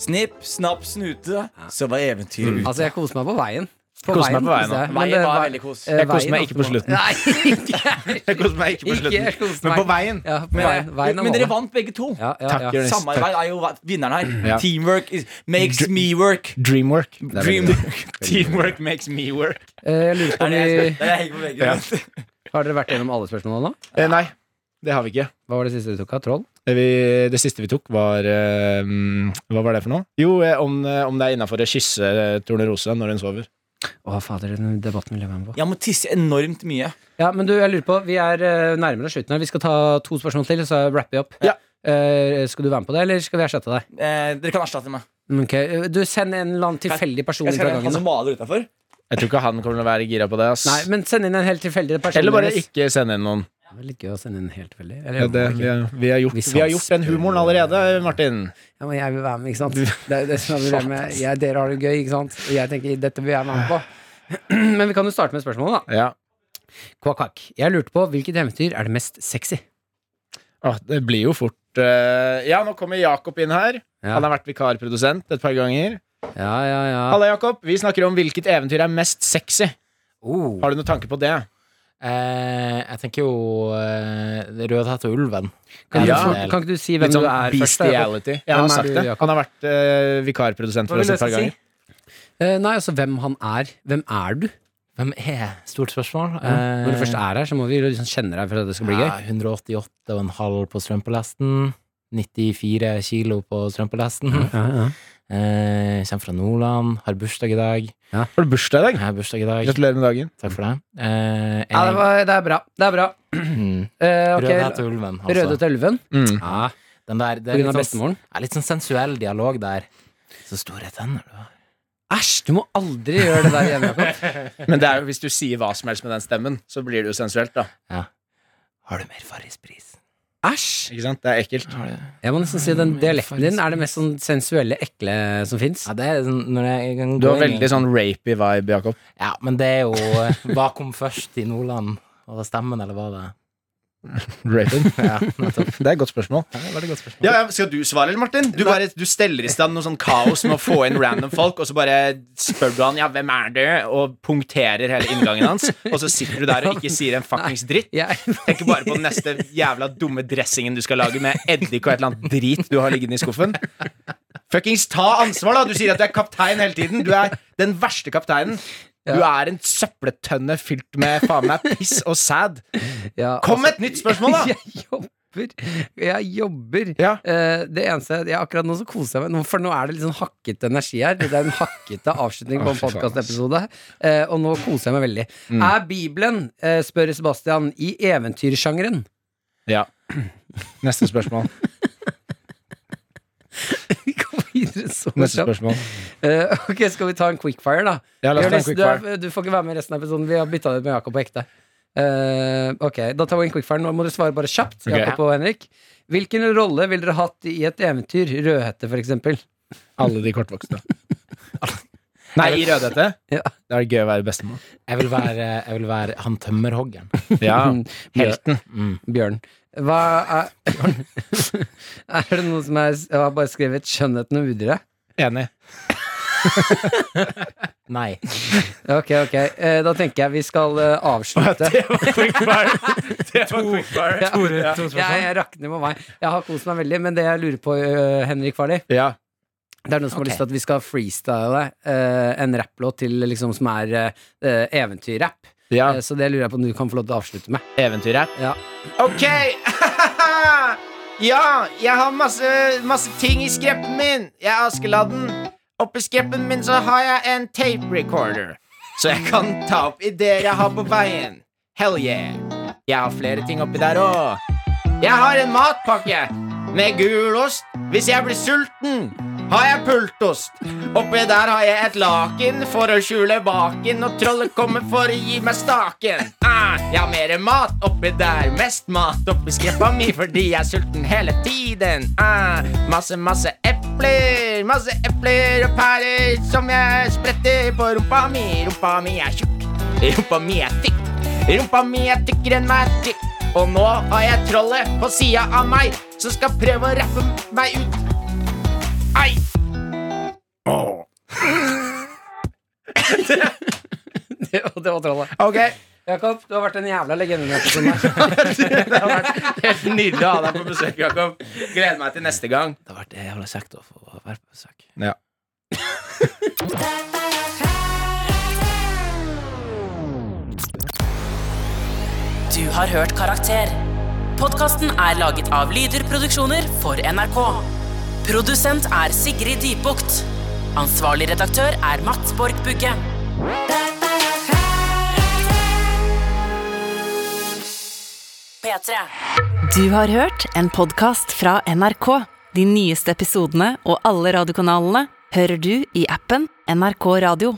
[SPEAKER 4] Snipp, snapp, snute, så var eventyret
[SPEAKER 2] Mm.
[SPEAKER 4] ute.
[SPEAKER 3] Altså, jeg koser meg på veien.
[SPEAKER 2] Koser meg på veien,
[SPEAKER 3] koser jeg.
[SPEAKER 2] da.
[SPEAKER 3] Men
[SPEAKER 4] Veien
[SPEAKER 3] det
[SPEAKER 4] var
[SPEAKER 3] var-
[SPEAKER 4] veldig kos.
[SPEAKER 3] eh,
[SPEAKER 2] Jeg koser
[SPEAKER 3] veien
[SPEAKER 2] meg ikke på
[SPEAKER 3] var-
[SPEAKER 2] slutten.
[SPEAKER 3] Nei, ikke
[SPEAKER 2] Jeg koste meg ikke på
[SPEAKER 3] Ikke, jeg
[SPEAKER 2] slutten,
[SPEAKER 3] koste
[SPEAKER 2] men på
[SPEAKER 3] meg.
[SPEAKER 2] veien.
[SPEAKER 3] eh, Ja, på
[SPEAKER 4] Men,
[SPEAKER 3] veien, veien er
[SPEAKER 4] eh, men dere
[SPEAKER 3] målet.
[SPEAKER 4] vant begge to.
[SPEAKER 3] Ja, ja,
[SPEAKER 2] Takk,
[SPEAKER 3] ja.
[SPEAKER 2] Jonas.
[SPEAKER 4] Samarbeid er jo vinneren her.
[SPEAKER 2] Ja.
[SPEAKER 4] Teamwork is, makes me work.
[SPEAKER 2] Dreamwork.
[SPEAKER 3] er veldig bra.
[SPEAKER 2] Teamwork makes me work.
[SPEAKER 3] Eh, Jeg lurer på om
[SPEAKER 4] Det er jeg-
[SPEAKER 3] vi
[SPEAKER 4] det er jeg på begge
[SPEAKER 2] Ja.
[SPEAKER 4] to.
[SPEAKER 3] Har dere vært gjennom alle spørsmålene nå?
[SPEAKER 2] Eh, nei, det har vi ikke.
[SPEAKER 3] Hva var det siste du tok av? Troll?
[SPEAKER 2] Det vi, det siste vi tok, var eh, mm, Hva var det for noe? Jo, eh, om, eh, om det er innafor å kysse eh, Tornerose når hun sover.
[SPEAKER 3] Å, fader, den debatten vil jeg være med på.
[SPEAKER 4] Jeg må tisse enormt mye.
[SPEAKER 3] Ja, men du, jeg lurer på Vi er eh, nærmere slutten her. Vi skal ta to spørsmål til, så wrapper vi opp.
[SPEAKER 2] Ja.
[SPEAKER 3] Eh, skal du være med på det, eller skal vi erstatte deg?
[SPEAKER 4] Eh, dere kan erstatte meg.
[SPEAKER 3] Mm, Ok, Du, Send en eller annen tilfeldig person inn
[SPEAKER 4] Jeg
[SPEAKER 3] fra
[SPEAKER 4] skal ha
[SPEAKER 3] gangen. da.
[SPEAKER 4] en maler utafor.
[SPEAKER 2] Jeg tror ikke han kommer til å være gira på det. ass.
[SPEAKER 3] Nei, men send inn en helt tilfeldig person.
[SPEAKER 2] Eller bare
[SPEAKER 3] deres.
[SPEAKER 2] ikke sende inn noen.
[SPEAKER 3] Det var litt gøy å sende inn en helt tilfeldig. Eller,
[SPEAKER 2] Ja, det, vi, har, vi, har gjort,
[SPEAKER 3] Vi sans-
[SPEAKER 2] vi har gjort den humoren allerede, Martin.
[SPEAKER 3] Ja, men jeg vil være med, ikke sant? Det er det som er problemet. Jeg, dere har det gøy, ikke sant? Og jeg tenker, dette vil jeg være med på. Men vi kan jo starte med spørsmålet, da.
[SPEAKER 2] Ja.
[SPEAKER 3] Ah. Kvakk, kvakk. Jeg lurte på hvilket eventyr er det mest sexy?
[SPEAKER 2] Åh, det blir jo fort eh, Ja, nå kommer Jakob inn her.
[SPEAKER 3] Ja.
[SPEAKER 2] Han har vært vikarprodusent et par ganger.
[SPEAKER 3] Ja, ja, ja.
[SPEAKER 2] Halla, Jakob. Vi snakker om hvilket eventyr er mest sexy.
[SPEAKER 3] Oh.
[SPEAKER 2] Har du noen tanke på det?
[SPEAKER 9] Eh, jeg tenker jo eh, Rødhette og ulven.
[SPEAKER 3] Kan,
[SPEAKER 2] Ja.
[SPEAKER 3] du, kan ikke du si hvem
[SPEAKER 2] Litt sånn
[SPEAKER 3] du er først? da?
[SPEAKER 2] bestiality. Jeg
[SPEAKER 3] Hvem
[SPEAKER 2] har
[SPEAKER 3] er
[SPEAKER 2] sagt
[SPEAKER 3] du,
[SPEAKER 2] det.
[SPEAKER 3] Jakob?
[SPEAKER 2] Han har vært eh, vikarprodusent for oss et par ganger.
[SPEAKER 3] Eh, nei, altså hvem han er. Hvem er du? Eh,
[SPEAKER 9] Hvem er? Stort spørsmål. Eh,
[SPEAKER 3] Når du først er her, så må vi liksom kjenne deg for at det skal bli gøy.
[SPEAKER 9] 188,5 på strømpelesten. 94 kilo på strømpelesten.
[SPEAKER 3] Ja, ja.
[SPEAKER 9] Eh, kommer fra Nordland. Har bursdag i dag.
[SPEAKER 2] Har du bursdag i dag?
[SPEAKER 9] Jeg har bursdag i dag.
[SPEAKER 2] Gratulerer med dagen.
[SPEAKER 9] Takk for det. Eh,
[SPEAKER 3] ja det, var, det er bra. Det er bra.
[SPEAKER 9] Mm.
[SPEAKER 3] Eh, ok.
[SPEAKER 9] Rødhette og ulven, altså.
[SPEAKER 3] Røde til ulven.
[SPEAKER 2] Mm.
[SPEAKER 9] Ja, den der,
[SPEAKER 3] På
[SPEAKER 9] det
[SPEAKER 3] grunn
[SPEAKER 9] er litt
[SPEAKER 3] av
[SPEAKER 9] sånn,
[SPEAKER 3] bestemoren.
[SPEAKER 9] ja, litt sånn sensuell dialog der. Så store tenner du har.
[SPEAKER 3] Æsj, du må aldri gjøre det der hjemme, Jakob.
[SPEAKER 2] Men det er jo, hvis du sier hva som helst med den stemmen, så blir det jo sensuelt, da.
[SPEAKER 9] Har du mer farrispris?
[SPEAKER 3] Æsj!
[SPEAKER 2] Ikke sant? Det er ekkelt.
[SPEAKER 9] Har du
[SPEAKER 3] Jeg må nesten si den dialekten din er det mest sånn sensuelle, ekle som fins.
[SPEAKER 9] Ja, det er sånn når jeg kan
[SPEAKER 2] Du
[SPEAKER 9] gå
[SPEAKER 2] har
[SPEAKER 9] inn i-
[SPEAKER 2] veldig sånn rapey vibe, Jakob.
[SPEAKER 9] Ja, men det er jo eh, Hva kom først i Nordland? Var det stemmen, eller var det
[SPEAKER 2] Rapey.
[SPEAKER 9] Ja, nettopp.
[SPEAKER 2] Det er et godt spørsmål.
[SPEAKER 9] Ja, det var et godt spørsmål.
[SPEAKER 2] Ja, ja, Skal du svare, eller, Martin? Du, bare, du steller i stand noe sånn kaos med å få inn random folk, og så bare spør du han ja, hvem er du, og punkterer hele inngangen hans, og så sitter du der og ikke sier en fuckings dritt.
[SPEAKER 3] Jeg,
[SPEAKER 2] Tenker bare på den neste jævla dumme dressingen du skal lage med eddik og et eller annet drit du har liggende i skuffen. Fuckings ta ansvar, da! Du sier at du er kaptein hele tiden. Du er den verste kapteinen. Du er en søppeltønne fylt med faen meg piss og sæd.
[SPEAKER 3] ja, Altså,
[SPEAKER 2] Kom med et nytt spørsmål, da!
[SPEAKER 3] Jeg jobber jobber. Jeg jobber.
[SPEAKER 5] Ja.
[SPEAKER 3] Eh, det eneste ja, Akkurat nå så koser jeg meg, nå- for nå er det litt sånn hakkete energi her. Det er en hakkete avslutning på en podkastepisode, eh, og nå koser jeg meg veldig.
[SPEAKER 2] Mm.
[SPEAKER 3] Er Bibelen, eh, spør Sebastian, i eventyrsjangeren?
[SPEAKER 4] Ja.
[SPEAKER 5] Neste spørsmål.
[SPEAKER 3] Vi går videre så
[SPEAKER 5] Neste
[SPEAKER 3] kjapt.
[SPEAKER 5] spørsmål.
[SPEAKER 3] Eh, ok, skal vi ta en quickfire, da?
[SPEAKER 5] Ja, la oss ta en
[SPEAKER 3] Jonis, du,
[SPEAKER 5] quickfire.
[SPEAKER 3] er- du får ikke være med i resten av episoden. Vi har bytta det ut med Jakob og Ekte. Eh, ok, da tar vi en quickfire. Nå må dere svare bare kjapt.
[SPEAKER 5] Ok.
[SPEAKER 3] Jakob og Henrik Hvilken rolle ville dere hatt i et eventyr? Rødhette, for eksempel.
[SPEAKER 5] Alle de kortvokste. Nei, i Rødhette?
[SPEAKER 3] Ja.
[SPEAKER 5] Det er gøy å være bestemor.
[SPEAKER 9] Jeg vil være, jeg vil være han tømmerhoggeren.
[SPEAKER 5] Ja. Mm.
[SPEAKER 3] Helten. Bjørn. Hva er Er det noen som er, jeg har bare skrevet 'Skjønnheten og udyret'?
[SPEAKER 5] Enig.
[SPEAKER 9] Nei.
[SPEAKER 3] Ok, ok. Eh, da tenker jeg vi skal eh, avslutte. Ja. Jeg, jeg rakner med meg. Jeg har kost meg veldig, men det jeg lurer på, eh, Henrik Farley
[SPEAKER 5] Ja.
[SPEAKER 3] Det er noen som har lyst til at vi skal freestyle eh, en rapplåt til liksom som er eh, eventyrrapp.
[SPEAKER 5] ja.
[SPEAKER 3] Eh, Så det lurer jeg på om du kan få lov til å avslutte med.
[SPEAKER 5] Eventyrrapp.
[SPEAKER 2] Ok! ja, jeg har masse, masse ting i skreppen min. Jeg er Askeladden. Oppi skreppen min så har jeg en tape recorder. Så jeg kan ta opp ideer jeg har på veien. Hell yeah. Jeg har flere ting oppi der òg. Jeg har en matpakke med gulost hvis jeg blir sulten. Har jeg pultost? Oppi der har jeg et laken for å skjule baken, og trollet kommer for å gi meg staken. Ah, jeg har mer mat oppi der, mest mat oppi skreppa mi fordi jeg er sulten hele tiden. Ah, masse, masse epler, masse epler og pærer som jeg spretter på rumpa mi. Rumpa mi er tjukk, rumpa mi er tykk. Rumpa mi er tykkere enn meg er tykk. Og nå har jeg trollet på sida av meg som skal prøve å rappe meg ut. Ei!
[SPEAKER 3] Det var, det var trollet.
[SPEAKER 2] Ok,
[SPEAKER 3] Jakob, du har vært en jævla legende. for meg. Det
[SPEAKER 2] helt nydelig å ha deg på besøk, Jakob. Gleder meg til neste gang.
[SPEAKER 9] Det har vært jævla kjekt å få være på besøk.
[SPEAKER 10] Du har hørt Karakter. Podkasten er laget av Lyder Produksjoner for NRK. Produsent er Sigrid Dybukt. Ansvarlig redaktør er Mats Borg Bugge. P3.
[SPEAKER 1] Du har hørt en podkast fra NRK. De nyeste episodene og alle radiokanalene hører du i appen NRK Radio.